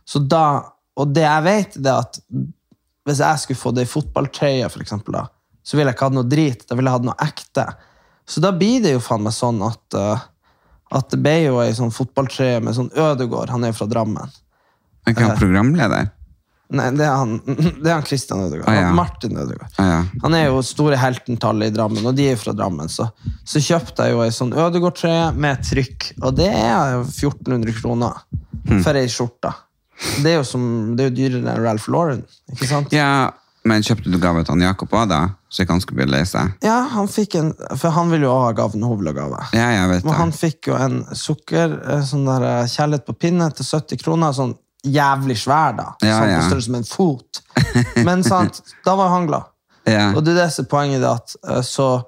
[SPEAKER 1] Så da, Og det jeg vet, det er at hvis jeg skulle fått ei fotballtrøye, for eksempel, da, så ville jeg ikke hatt noe drit. Da ville jeg hatt noe ekte. Så da blir det jo faen meg sånn at eh, at det ble jo ei sånn fotballtrøye med sånn Ødegård. Han er jo fra Drammen.
[SPEAKER 2] Er ikke han programleder?
[SPEAKER 1] Nei, det er han, det er han Christian Ødegård.
[SPEAKER 2] Å, ja.
[SPEAKER 1] Han- Martin Ødegård.
[SPEAKER 2] Å ja.
[SPEAKER 1] Han er jo store heltentallet i Drammen, og de er jo fra Drammen. Så, så kjøpte jeg jo ei sånn Ødegård-trøye med trykk, og det er jo 1400 kroner
[SPEAKER 2] Hmm.
[SPEAKER 1] for ei skjorte. Det er jo som, det er jo dyrere enn Ralph Lauren, ikke sant?
[SPEAKER 2] ja. Men kjøpte du gave til han Jakob òg, da? Så ikke han skulle bli lei seg?
[SPEAKER 1] Ja, han fikk en, for han ville jo også ha gaven hovedgave.
[SPEAKER 2] Ja, jeg vet
[SPEAKER 1] Men
[SPEAKER 2] det.
[SPEAKER 1] han fikk jo en sukker, eh, sånn der eh, kjærlighet på pinne til 70 kroner, sånn jævlig svær da,
[SPEAKER 2] Ja,
[SPEAKER 1] sånn
[SPEAKER 2] ja.
[SPEAKER 1] på størrelse med en fot. Men sant, da var han glad.
[SPEAKER 2] Ja.
[SPEAKER 1] Og det er det som er poenget det at eh, så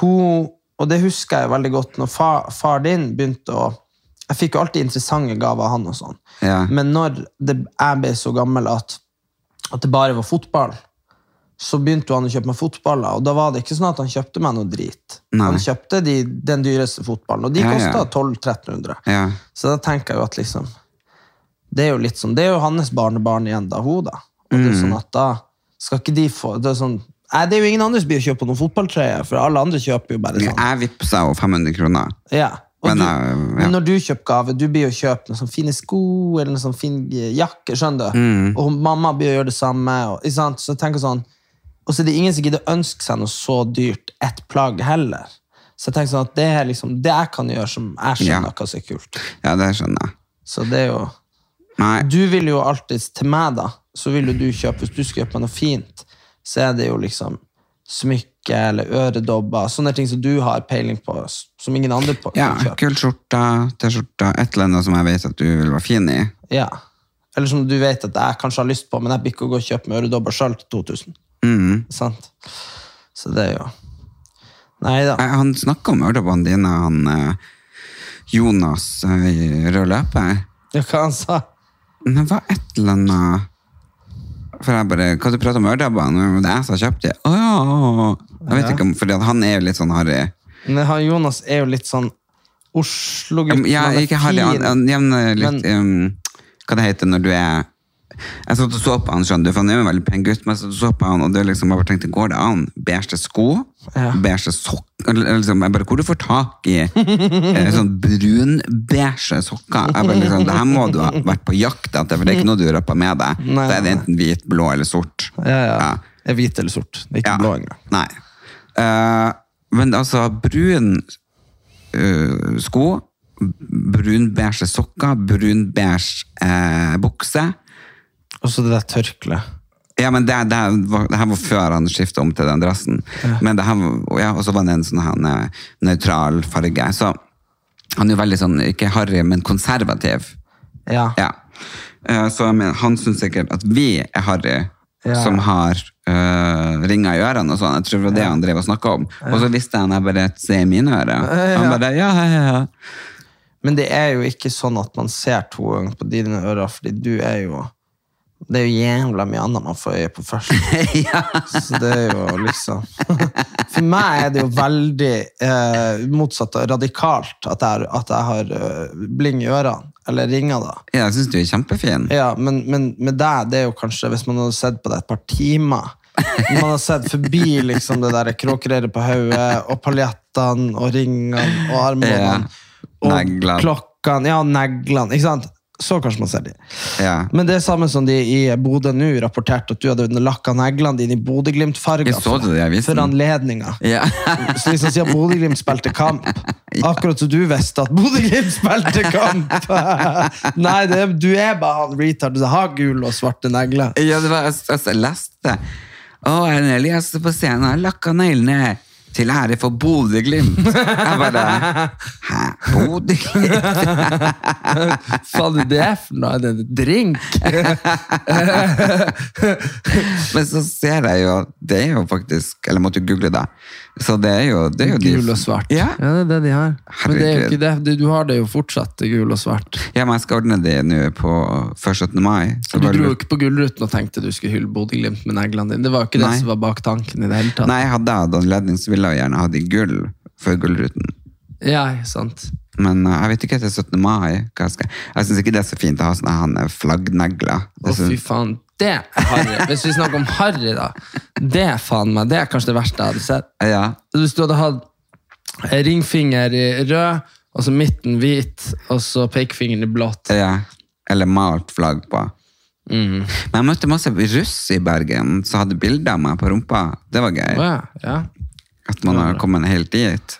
[SPEAKER 1] hun, og det husker jeg veldig godt når far, far din begynte å Jeg fikk jo alltid interessante gaver av han og sånn.
[SPEAKER 2] Ja.
[SPEAKER 1] Men når det, jeg ble så gammel at, at det bare var fotball, så begynte jo han å kjøpe meg fotballer, og da var det ikke sånn at han kjøpte meg noe drit.
[SPEAKER 2] Nei.
[SPEAKER 1] Han kjøpte de, den dyreste fotballen, og de
[SPEAKER 2] Ja, ja.
[SPEAKER 1] kostet 1200-1300.
[SPEAKER 2] Ja.
[SPEAKER 1] Så da tenker jeg jo at liksom Det er jo litt sånn, det er jo hans barnebarn igjen, da, hun, da. Og
[SPEAKER 2] Mm.
[SPEAKER 1] det er sånn at da skal ikke de få Det er sånn Nei, det er jo ingen andre som blir å kjøpe noen fotballtrøye, for alle andre kjøper jo bare sånn.
[SPEAKER 2] Jeg vippsa jo 500 kroner.
[SPEAKER 1] Ja. Og
[SPEAKER 2] Men,
[SPEAKER 1] du,
[SPEAKER 2] eh, ja.
[SPEAKER 1] men når du kjøper gave, du blir jo kjøpt noen sånne fine sko eller noen sånne fin eh, jakke, skjønner du?
[SPEAKER 2] Mm.
[SPEAKER 1] Og mamma blir å gjøre det samme. Og, ikke sant? Så jeg tenker sånn, og så er det ingen som gidder å ønske seg noe så dyrt ett plagg heller. Så jeg tenker sånn at det er liksom det jeg kan gjøre som jeg skjønner
[SPEAKER 2] Ja.
[SPEAKER 1] hva som er kult.
[SPEAKER 2] Ja, det skjønner jeg.
[SPEAKER 1] Så det er jo...
[SPEAKER 2] Nei,
[SPEAKER 1] Du vil jo alltid til meg da, så vil jo du kjøpe, hvis du skal kjøpe meg noe fint, så er det jo liksom smykke eller øredobber, sånne ting som du har peiling på, som ingen andre på
[SPEAKER 2] ja,
[SPEAKER 1] kjøper.
[SPEAKER 2] kul skjorte, T-skjorte, et eller annet som jeg vet at du vil være fin i.
[SPEAKER 1] Ja. Eller som du vet at jeg kanskje har lyst på, men jeg blir ikke å gå og kjøpe med øredobber sjøl til 2000.
[SPEAKER 2] Mm.
[SPEAKER 1] Sant? Så det er jo Nei da.
[SPEAKER 2] Jeg, han snakket om øredobbene dine, han eh, Jonas eh, i rød løper.
[SPEAKER 1] Det er hva han sa.
[SPEAKER 2] Men det var et eller annet... For jeg bare, hva du prater om øredobbene? Det er jeg som har kjøpt det. Å ja, å, å. Jeg vet ikke om, fordi at han er jo litt sånn harry.
[SPEAKER 1] Men han Jonas er jo litt sånn Oslo-gutt.
[SPEAKER 2] Ja,
[SPEAKER 1] han er
[SPEAKER 2] ikke harry, han,
[SPEAKER 1] fin.
[SPEAKER 2] han jevner litt... um, hva det heter når du er... Jeg satt og så på han, skjønner du, for han er jo en veldig pen gutt, men jeg satt og så på han, og det liksom bare tenkte, går det an? Beige sko,
[SPEAKER 1] Ja.
[SPEAKER 2] beige sokker, eller- eller liksom, jeg bare, hvor du får tak i eh, sånn brun beige sokker? Jeg bare liksom, det her må du ha vært på jakt etter, for det er ikke noe du røper med deg.
[SPEAKER 1] Nei,
[SPEAKER 2] Da er det
[SPEAKER 1] nei.
[SPEAKER 2] enten hvit, blå eller sort.
[SPEAKER 1] ja, ja.
[SPEAKER 2] Ja.
[SPEAKER 1] Det Er hvit eller sort. Det er ikke
[SPEAKER 2] Ja.
[SPEAKER 1] blå engang.
[SPEAKER 2] Nei. Eh, men altså, brun eh, sko, brun beige sokker, brun beige eh, bukse.
[SPEAKER 1] Og så det der tørkleet.
[SPEAKER 2] Ja, men det, det, var, det her var før han skiftet om til den dressen. Men det her, var- ja, og så var det en sånn her eh, nøytral farge. Så han er jo veldig sånn, ikke harry, men konservativ.
[SPEAKER 1] Ja.
[SPEAKER 2] Ja. Eh, Så jeg mener, han synes sikkert at vi er Harry
[SPEAKER 1] Ja.
[SPEAKER 2] som har eh, ringer i ørene og sånn. Jeg tror det var det han drev og snakket om. Og så visste han jeg bare se i mine ører. Han bare, ja, ja, ja.
[SPEAKER 1] Men det er jo ikke sånn at man ser to ganger på dine ører, fordi du er jo Det er jo jævla mye annet man får øye på først. Så det er jo liksom For meg er det jo veldig eh, motsatt og radikalt at jeg, at jeg har eh, bling i ørene. Eller ringer, da.
[SPEAKER 2] ja. Jeg synes du er kjempefin.
[SPEAKER 1] Ja, men, men med deg, det er jo kanskje Hvis man hadde sett på det et par timer Når man har sett forbi liksom det der kråkereiret på hodet, og paljettene og ringene og armbåndene og
[SPEAKER 2] Neglene.
[SPEAKER 1] klokkene Ja, neglene. Ikke sant? Så kanskje man ser de.
[SPEAKER 2] Ja.
[SPEAKER 1] Men det er samme som de i Bodø nå rapporterte at du hadde lakka neglene dine i Bodø-Glimt-farger
[SPEAKER 2] Jeg så det i avisen.
[SPEAKER 1] for anledninga.
[SPEAKER 2] Ja.
[SPEAKER 1] Så liksom siden Bodø-Glimt spilte kamp Akkurat som du visste at Bodø-Glimt spilte kamp! Nei, det, er- du er bare han retard som har gule og svarte negler.
[SPEAKER 2] Ja, det var, jeg, jeg, jeg leste Å, en Elias på scenen har lakka neglene til ære for Bodø-Glimt. Jeg bare Hæ? Bodø-Glimt?
[SPEAKER 1] Faen, det er for noe? Er det en drink?
[SPEAKER 2] Men så ser jeg jo at det er jo faktisk Eller måtte jo google det. Så det er jo, det er jo de-
[SPEAKER 1] Gul og svart.
[SPEAKER 2] Ja.
[SPEAKER 1] det er det de har. Men det er jo
[SPEAKER 2] Herregud.
[SPEAKER 1] ikke det. Du- Du har det jo fortsatt, det gul og svart.
[SPEAKER 2] ja, men jeg skal ordne det nå på før 17. mai. Så
[SPEAKER 1] Du
[SPEAKER 2] bare
[SPEAKER 1] dro jo
[SPEAKER 2] lurt-
[SPEAKER 1] ikke på Gullruten og tenkte du skulle hylle Bodø-Glimt med neglene dine. Det var jo ikke
[SPEAKER 2] Nei.
[SPEAKER 1] det som var bak tanken i det hele tatt.
[SPEAKER 2] Nei, hadde jeg hatt anledning, så ville jeg gjerne hatt i gull før Gullruten.
[SPEAKER 1] Ja, ikke sant.
[SPEAKER 2] Men eh, jeg vet ikke etter 17. mai hva jeg skal Jeg syns ikke det er så fint å ha sånne han, eh, flaggnegler.
[SPEAKER 1] Å,
[SPEAKER 2] Det
[SPEAKER 1] fy
[SPEAKER 2] synes-
[SPEAKER 1] faen. Det er harry. Hvis vi snakker om harry, da. Det er faen meg, det er kanskje det verste jeg hadde sett.
[SPEAKER 2] Ja.
[SPEAKER 1] Hvis du hadde hatt eh, ringfinger i rød, og så midten hvit, og så pekefingeren i blått. Mm.
[SPEAKER 2] Ja. Eller malt flagg på. Men jeg møtte masse russ i Bergen som hadde bilder av meg på rumpa. Det var gøy.
[SPEAKER 1] Å, ja. ja.
[SPEAKER 2] At man har kommet helt dit.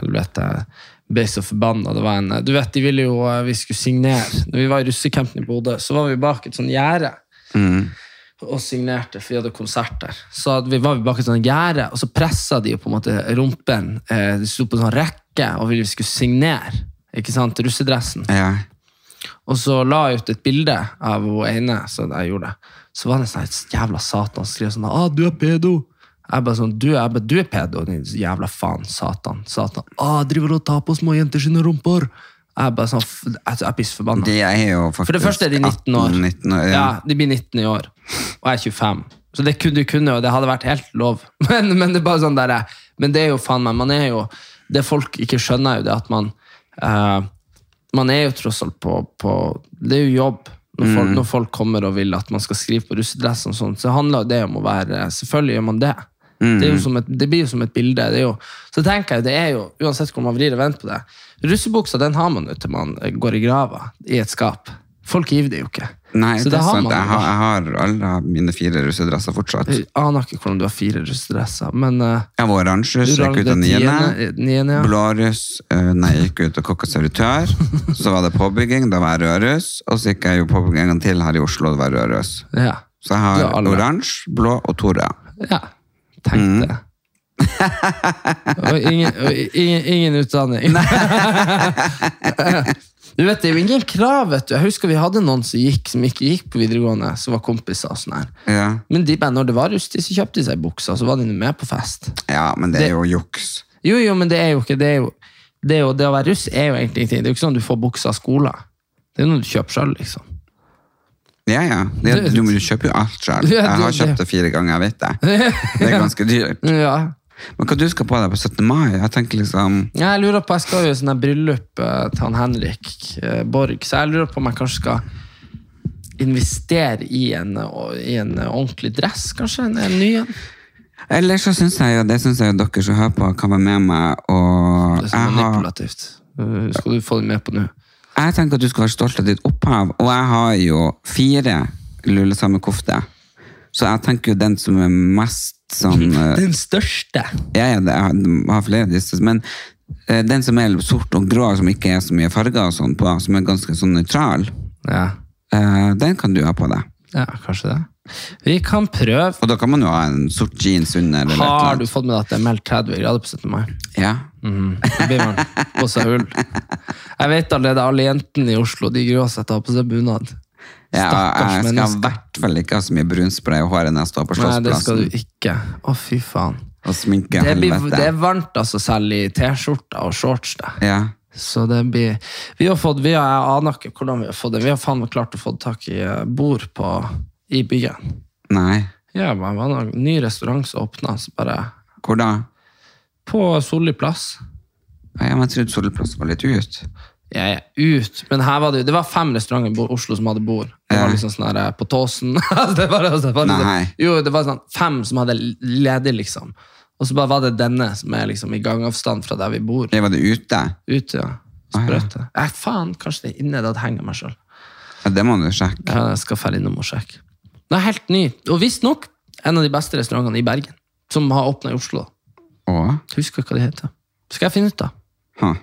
[SPEAKER 1] Helvete. Jeg Ble så forbanna. Det var en, du vet, de ville jo eh, vi skulle signere. Når vi var i russecampen i Bodø, så var vi bak et sånn gjerde. Mm. Og signerte, for vi hadde konsert der. Så hadde vi, var vi bak et sånt gjerde, og så pressa de jo på en måte rumpen. Eh, De sto på en sånn rekke og ville vi skulle signere. Ikke sant? Russedressen.
[SPEAKER 2] Ja.
[SPEAKER 1] Og så la jeg ut et bilde av hun ene, så jeg gjorde det. Så var det en sånn jævla satan som skrev sånn ah, 'Du er pedo'. Jeg bare sånn, du, jeg bare, du er pedo, din jævla faen, satan. satan. Ah, driver og tar på små jenter sine rumper. Jeg er bare sånn, f- jeg, jeg blir så forbanna.
[SPEAKER 2] De er jo faktisk
[SPEAKER 1] For det første er de 19 år.
[SPEAKER 2] 18, 19 år, ja.
[SPEAKER 1] ja. De blir 19 i år, og jeg er 25. Så det kunne, du kunne, og det hadde vært helt lov. Men, men det er bare sånn der, men det er jo faen meg, man er jo Det folk ikke skjønner, er jo det at man eh, Man er jo tross alt på, på Det er jo jobb. Når folk, når folk kommer og vil at man skal skrive på russedress, og sånt, så handler jo det om å være Selvfølgelig gjør man det. Det, er jo som et, det blir jo som et bilde. Det er jo, så tenker jeg, det er jo, uansett hvor man vrir og vender på det Russebuksa den har man jo til man eh, går i grava, i et skap. Folk gir det jo ikke.
[SPEAKER 2] Nei,
[SPEAKER 1] så
[SPEAKER 2] det,
[SPEAKER 1] det
[SPEAKER 2] er
[SPEAKER 1] har
[SPEAKER 2] sant.
[SPEAKER 1] man
[SPEAKER 2] Jeg
[SPEAKER 1] jo.
[SPEAKER 2] har, jeg har alle mine fire russedresser fortsatt.
[SPEAKER 1] Jeg aner ikke hvordan du har fire russedresser, men eh,
[SPEAKER 2] Jeg var oransje, så
[SPEAKER 1] Ural-
[SPEAKER 2] gikk ut av
[SPEAKER 1] det
[SPEAKER 2] niende.
[SPEAKER 1] tiende- niende, ja.
[SPEAKER 2] Blåruss, eh, nei, jeg gikk ut av kokk og servitør. Så var det påbygging, da var jeg rødruss. Og så gikk jeg jo påbygging en gang til her i Oslo, da var jeg rødruss.
[SPEAKER 1] ja.
[SPEAKER 2] Så jeg
[SPEAKER 1] Du
[SPEAKER 2] har
[SPEAKER 1] har alle.
[SPEAKER 2] oransje, blå og to røde.
[SPEAKER 1] ja. Tenk
[SPEAKER 2] Mm.
[SPEAKER 1] det. og ingen, og ingen, ingen utdanning. du vet, Det er jo ingen krav. vet du. Jeg husker vi hadde noen som, gikk, som ikke gikk på videregående, som var kompiser. og sånn her.
[SPEAKER 2] Ja.
[SPEAKER 1] Men de bare, når det var rustig, så kjøpte de seg bukser, og så var de nå med på fest.
[SPEAKER 2] ja, men det er jo juks.
[SPEAKER 1] Jo, jo, men det er jo ikke det. Er jo, det, er jo, det å være russ er jo egentlig ingenting. Det er jo ikke sånn du får bukser av skolen. Det er noe du kjøper sjøl, liksom.
[SPEAKER 2] Ja, ja. Det, du, du kjøper jo alt sjøl.
[SPEAKER 1] Ja,
[SPEAKER 2] Jeg har
[SPEAKER 1] det- det-
[SPEAKER 2] kjøpt det fire ganger, jeg vet det. Det er ganske dyrt.
[SPEAKER 1] Ja,
[SPEAKER 2] Men hva du skal på deg på 17. mai? Jeg tenker liksom
[SPEAKER 1] Ja, Jeg lurer på, jeg skal jo i sånn her bryllup eh, til han Henrik eh, Borg, så jeg lurer på om jeg kanskje skal investere i en, eh, og- i en eh, ordentlig dress, kanskje? En, en ny en?
[SPEAKER 2] Eller så syns jeg jo det synes jeg jo dere som hører på, kan være med meg. Og
[SPEAKER 1] Det er
[SPEAKER 2] jeg
[SPEAKER 1] sånn
[SPEAKER 2] har
[SPEAKER 1] manipulativt. Eh, Skal du få det med på nå?
[SPEAKER 2] Jeg tenker at du skal være stolt av ditt opphav, og jeg har jo fire lullesamekofter. Så jeg tenker jo den som er mest sånn eh,
[SPEAKER 1] Den største!
[SPEAKER 2] Ja, ja, det- jeg har flere av disse, men eh, den som er sort og grå, som ikke er så mye farger og sånn på, som er ganske sånn nøytral,
[SPEAKER 1] Ja.
[SPEAKER 2] eh, den kan du ha på deg.
[SPEAKER 1] ja, kanskje det. Vi kan prøve.
[SPEAKER 2] Og da kan man jo ha en sort jeans under. Eller et eller
[SPEAKER 1] Har
[SPEAKER 2] annet.
[SPEAKER 1] du fått med deg at det er meldt 30 grader på 17. mai?
[SPEAKER 2] Ja.
[SPEAKER 1] Da blir man på seg hull. Jeg vet allerede alle jentene i Oslo de gruer seg til å ha på seg bunad.
[SPEAKER 2] ja og
[SPEAKER 1] Stakkars
[SPEAKER 2] jeg skal i
[SPEAKER 1] mennesker.
[SPEAKER 2] hvert fall ikke ha så mye brunspray og hår når jeg står på
[SPEAKER 1] Nei, det skal
[SPEAKER 2] Slottsplassen
[SPEAKER 1] du ikke. Å, fy faen.
[SPEAKER 2] og sminke
[SPEAKER 1] Det, blir,
[SPEAKER 2] helvete.
[SPEAKER 1] det er varmt altså selv i T-skjorta og shorts. Det.
[SPEAKER 2] Ja.
[SPEAKER 1] Så det blir Vi har fått, vi har, jeg aner ikke hvordan vi har fått det. Vi har faen meg klart å få tak i eh, bord på, i byen.
[SPEAKER 2] Nei.
[SPEAKER 1] Ja, men det var en ny restaurant som åpna, så bare
[SPEAKER 2] Hvor da?
[SPEAKER 1] På Solli plass.
[SPEAKER 2] Ja, men jeg trodde Solplass var litt ut.
[SPEAKER 1] Jeg er ut, men her var det, det var fem restauranter i Bo- Oslo som hadde bord. Det var
[SPEAKER 2] Ja.
[SPEAKER 1] liksom sånn her eh, på Tåsen. Altså, det var, altså, det var
[SPEAKER 2] Nei.
[SPEAKER 1] liksom, jo, det var sånn fem som hadde ledig, liksom. Og så bare var det denne som er liksom i gangavstand fra der vi bor.
[SPEAKER 2] Det var det ute.
[SPEAKER 1] Ute, ja. Sprøte. Eh, faen, kanskje det er inne. Det hadde hengt meg sjøl.
[SPEAKER 2] Ja, det må du sjekke.
[SPEAKER 1] Jeg skal fære innom og sjekke. Det er helt ny. Og visstnok en av de beste restaurantene i Bergen. Som har åpna i Oslo.
[SPEAKER 2] Å?
[SPEAKER 1] Husker ikke hva de heter. Skal jeg finne ut, da?
[SPEAKER 2] Huh.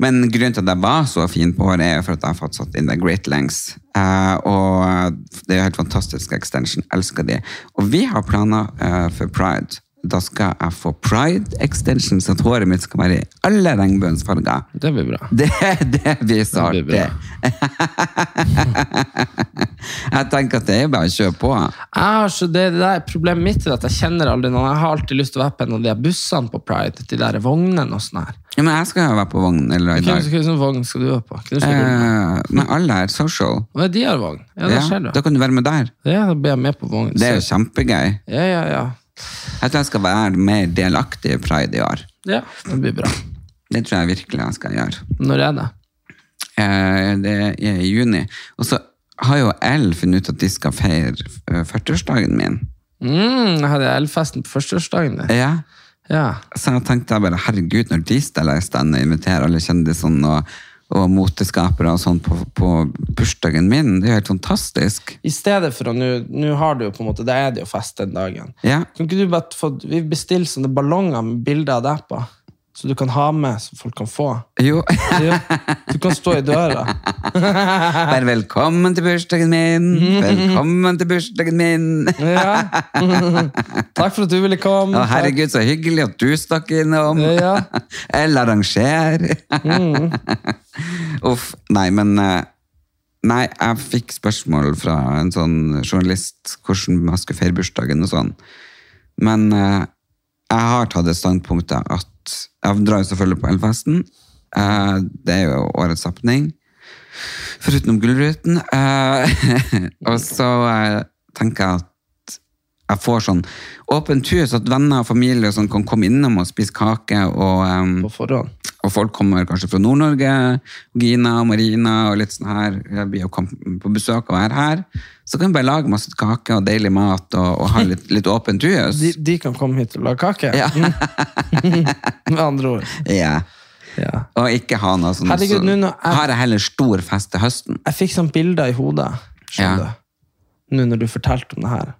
[SPEAKER 2] Men grunnen til at jeg var så fin på håret, er jo for at jeg har fått satt inn det Great Lengths. Eh, og det er jo helt fantastisk extension. Elsker de. Og vi har planer eh, for pride. Da skal jeg få pride extension, så at håret mitt skal være i alle regnbuens farger.
[SPEAKER 1] Det blir bra.
[SPEAKER 2] Det, det blir så
[SPEAKER 1] Det
[SPEAKER 2] artig.
[SPEAKER 1] blir
[SPEAKER 2] jeg tenker at det er bare å kjøre på.
[SPEAKER 1] Jeg har så det, det der Problemet mitt er at jeg kjenner aldri noen. Jeg har alltid lyst til å være på en av de her bussene på Pride. De der vognene og sånn her.
[SPEAKER 2] Ja, men jeg skal jo være på vognen i dag.
[SPEAKER 1] Hvem- Hvilken vogn skal du være på? Hvem skal du være på?
[SPEAKER 2] Eh, men alle er social.
[SPEAKER 1] Hva er de her vogn? Ja, det
[SPEAKER 2] Ja,
[SPEAKER 1] ser du.
[SPEAKER 2] da kan du være med der.
[SPEAKER 1] Ja, da blir jeg med på vogn.
[SPEAKER 2] Det er jo kjempegøy.
[SPEAKER 1] Ja, ja, ja.
[SPEAKER 2] Jeg tror jeg skal være mer delaktig i pride i år.
[SPEAKER 1] Ja, det blir bra.
[SPEAKER 2] Det tror jeg virkelig jeg skal gjøre.
[SPEAKER 1] Når er det?
[SPEAKER 2] Eh, det er i juni. Og så har jo L funnet ut at de skal feire eh, 40-årsdagen min.
[SPEAKER 1] Mm, jeg hadde elfesten på førsteårsdagen. din.
[SPEAKER 2] Ja.
[SPEAKER 1] Ja.
[SPEAKER 2] Så jeg tenkte jeg bare, herregud, når de steller i stand og inviterer alle kjendisene og, og moteskapere og sånn på, på bursdagen min, det er jo helt fantastisk.
[SPEAKER 1] I stedet for å nå- Nå har du jo på en måte Da er det jo fest den dagen.
[SPEAKER 2] Ja.
[SPEAKER 1] Kan ikke du bare få Vi bestiller sånne ballonger med bilder av deg på, så du kan ha med, så folk kan få.
[SPEAKER 2] Jo,
[SPEAKER 1] Ja. Du kan stå i døra.
[SPEAKER 2] Vær velkommen til bursdagen min! Velkommen til bursdagen min!
[SPEAKER 1] Ja. Takk for at du ville komme.
[SPEAKER 2] Å, herregud, så hyggelig at du stakk innom!
[SPEAKER 1] Ja, ja.
[SPEAKER 2] Eller arranger! Uff. Nei, men eh, Nei, jeg fikk spørsmål fra en sånn journalist hvordan jeg skulle feire bursdagen og sånn. Men eh, jeg har tatt det standpunktet at Jeg drar jo selvfølgelig på Elfesten, Eh, det er jo årets happening. Foruten om Gullruten. Eh, og så eh, tenker jeg at jeg får sånn åpent hus, at venner og familie og sånn kan komme innom og spise kake. Og, eh,
[SPEAKER 1] på forhånd.
[SPEAKER 2] og folk kommer kanskje fra Nord-Norge, Gina og Marina og litt sånn her. Jeg blir jo kom- på besøk og er her. Så kan vi bare lage masse kake og deilig mat og, og ha litt, litt åpent hus.
[SPEAKER 1] De, de kan komme hit og lage kake.
[SPEAKER 2] Ja.
[SPEAKER 1] Mm. Med andre ord.
[SPEAKER 2] Ja.
[SPEAKER 1] Ja.
[SPEAKER 2] Og ikke ha noe sånn
[SPEAKER 1] Herregud,
[SPEAKER 2] så
[SPEAKER 1] nå når jeg-
[SPEAKER 2] har jeg heller stor fest til høsten.
[SPEAKER 1] Jeg fikk sånn bilder i hodet skjønner
[SPEAKER 2] Ja.
[SPEAKER 1] du, nå når du fortalte om det her.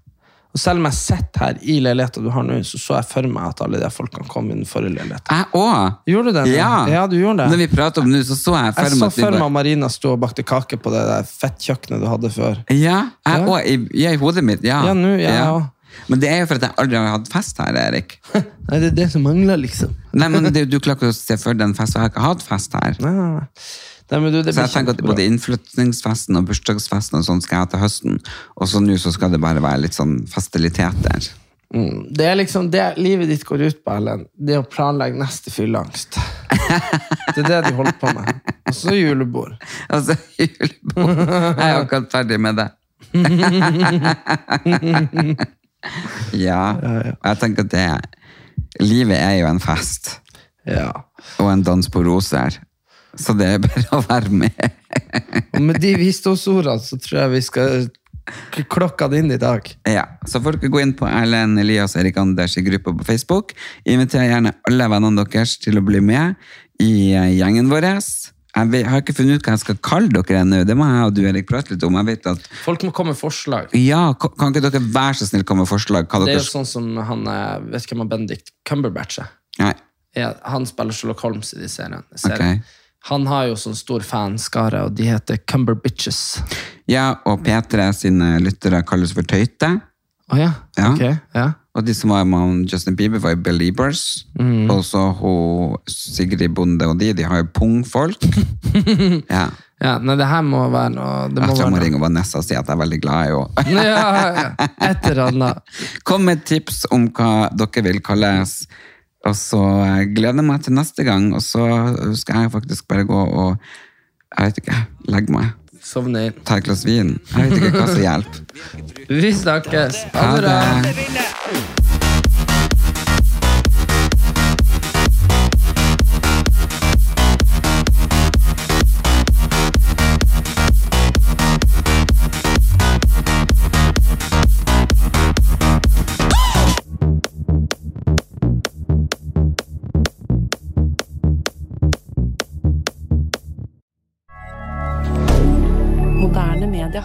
[SPEAKER 1] Og selv om jeg sitter her i leiligheten du har nå, så så jeg for meg at alle de folkene kom i den forrige leiligheten.
[SPEAKER 2] Jeg òg!
[SPEAKER 1] Gjorde du det? nå?
[SPEAKER 2] Ja.
[SPEAKER 1] ja, du gjorde det.
[SPEAKER 2] Når vi prater om det nå, så så jeg
[SPEAKER 1] jeg
[SPEAKER 2] for meg at
[SPEAKER 1] så
[SPEAKER 2] vi
[SPEAKER 1] for meg
[SPEAKER 2] bare-
[SPEAKER 1] Marina sto og bakte kake på det der fettkjøkkenet du hadde før.
[SPEAKER 2] Ja, jeg
[SPEAKER 1] Ja.
[SPEAKER 2] òg. I, ja, I hodet mitt, ja.
[SPEAKER 1] Ja, nå, jeg også.
[SPEAKER 2] Men det er jo for at jeg aldri har hatt fest her, Erik.
[SPEAKER 1] Nei, det er det som mangler, liksom.
[SPEAKER 2] Nei, men det, Du klarer ikke å se for deg en fest, og jeg har ikke hatt fest her.
[SPEAKER 1] Nei, nei, nei. Nei, men du, det
[SPEAKER 2] Så jeg
[SPEAKER 1] blir
[SPEAKER 2] tenker at
[SPEAKER 1] kjempebra.
[SPEAKER 2] både innflytningsfesten og bursdagsfesten og sånn skal jeg ha til høsten. Og så nå så skal det bare være litt sånn festiliteter.
[SPEAKER 1] Mm. Det er liksom det livet ditt går ut på, Ellen. Det å planlegge neste fylleangst. Det er det du holder på med. Og så julebord.
[SPEAKER 2] Altså, julebord. Jeg er akkurat ferdig med det. ja. Jeg tenker at det Livet er jo en fest.
[SPEAKER 1] Ja.
[SPEAKER 2] Og en dans på roser. Så det er bare å være med.
[SPEAKER 1] Og med de visdomsordene så tror jeg vi skal k- klokka det inn i dag.
[SPEAKER 2] Ja, så folk gå inn på Erlend Elias Erik Anders i gruppa på Facebook. Inviter gjerne alle vennene deres til å bli med i eh, gjengen vår. Jeg vet- har ikke funnet ut hva jeg skal kalle dere ennå. Det må jeg og du Erik prate litt om. Jeg vet at,
[SPEAKER 1] Folk må komme med forslag.
[SPEAKER 2] ja, ko- Kan ikke dere være så snill komme med forslag? Hva
[SPEAKER 1] Det er
[SPEAKER 2] dere...
[SPEAKER 1] jo sånn som han eh, Vet du hvem han Bendik Cumberbatch er?
[SPEAKER 2] Nei,
[SPEAKER 1] Ja, Han spiller Sherlock Holmes i de seriene. seriene.
[SPEAKER 2] ok.
[SPEAKER 1] Han har jo sånn stor fanskare, og de heter Cumberbitches.
[SPEAKER 2] Ja, og P3 sine lyttere kalles for tøyte.
[SPEAKER 1] Å ja?
[SPEAKER 2] Ja.
[SPEAKER 1] Ok, ja.
[SPEAKER 2] Og de som var med han Justin Bieber, var jo Beliebers.
[SPEAKER 1] Mm.
[SPEAKER 2] Og så hun Sigrid Bonde og de, de har jo pungfolk. ja.
[SPEAKER 1] ja. Nei, det her må være noe Det
[SPEAKER 2] Jeg tror
[SPEAKER 1] må være
[SPEAKER 2] jeg må
[SPEAKER 1] noe.
[SPEAKER 2] ringe Vanessa og si at jeg er veldig glad i henne.
[SPEAKER 1] Ja, ja, ja. Et eller annet.
[SPEAKER 2] Kom med tips om hva dere vil kalles. Og så eh, gleder jeg meg til neste gang, og så skal jeg faktisk bare gå og jeg vet ikke, legge meg.
[SPEAKER 1] Sovne inn.
[SPEAKER 2] Ta et glass vin. Jeg vet ikke hva som hjelper.
[SPEAKER 1] Vi snakkes.
[SPEAKER 2] Ha det!
[SPEAKER 4] Moderne media.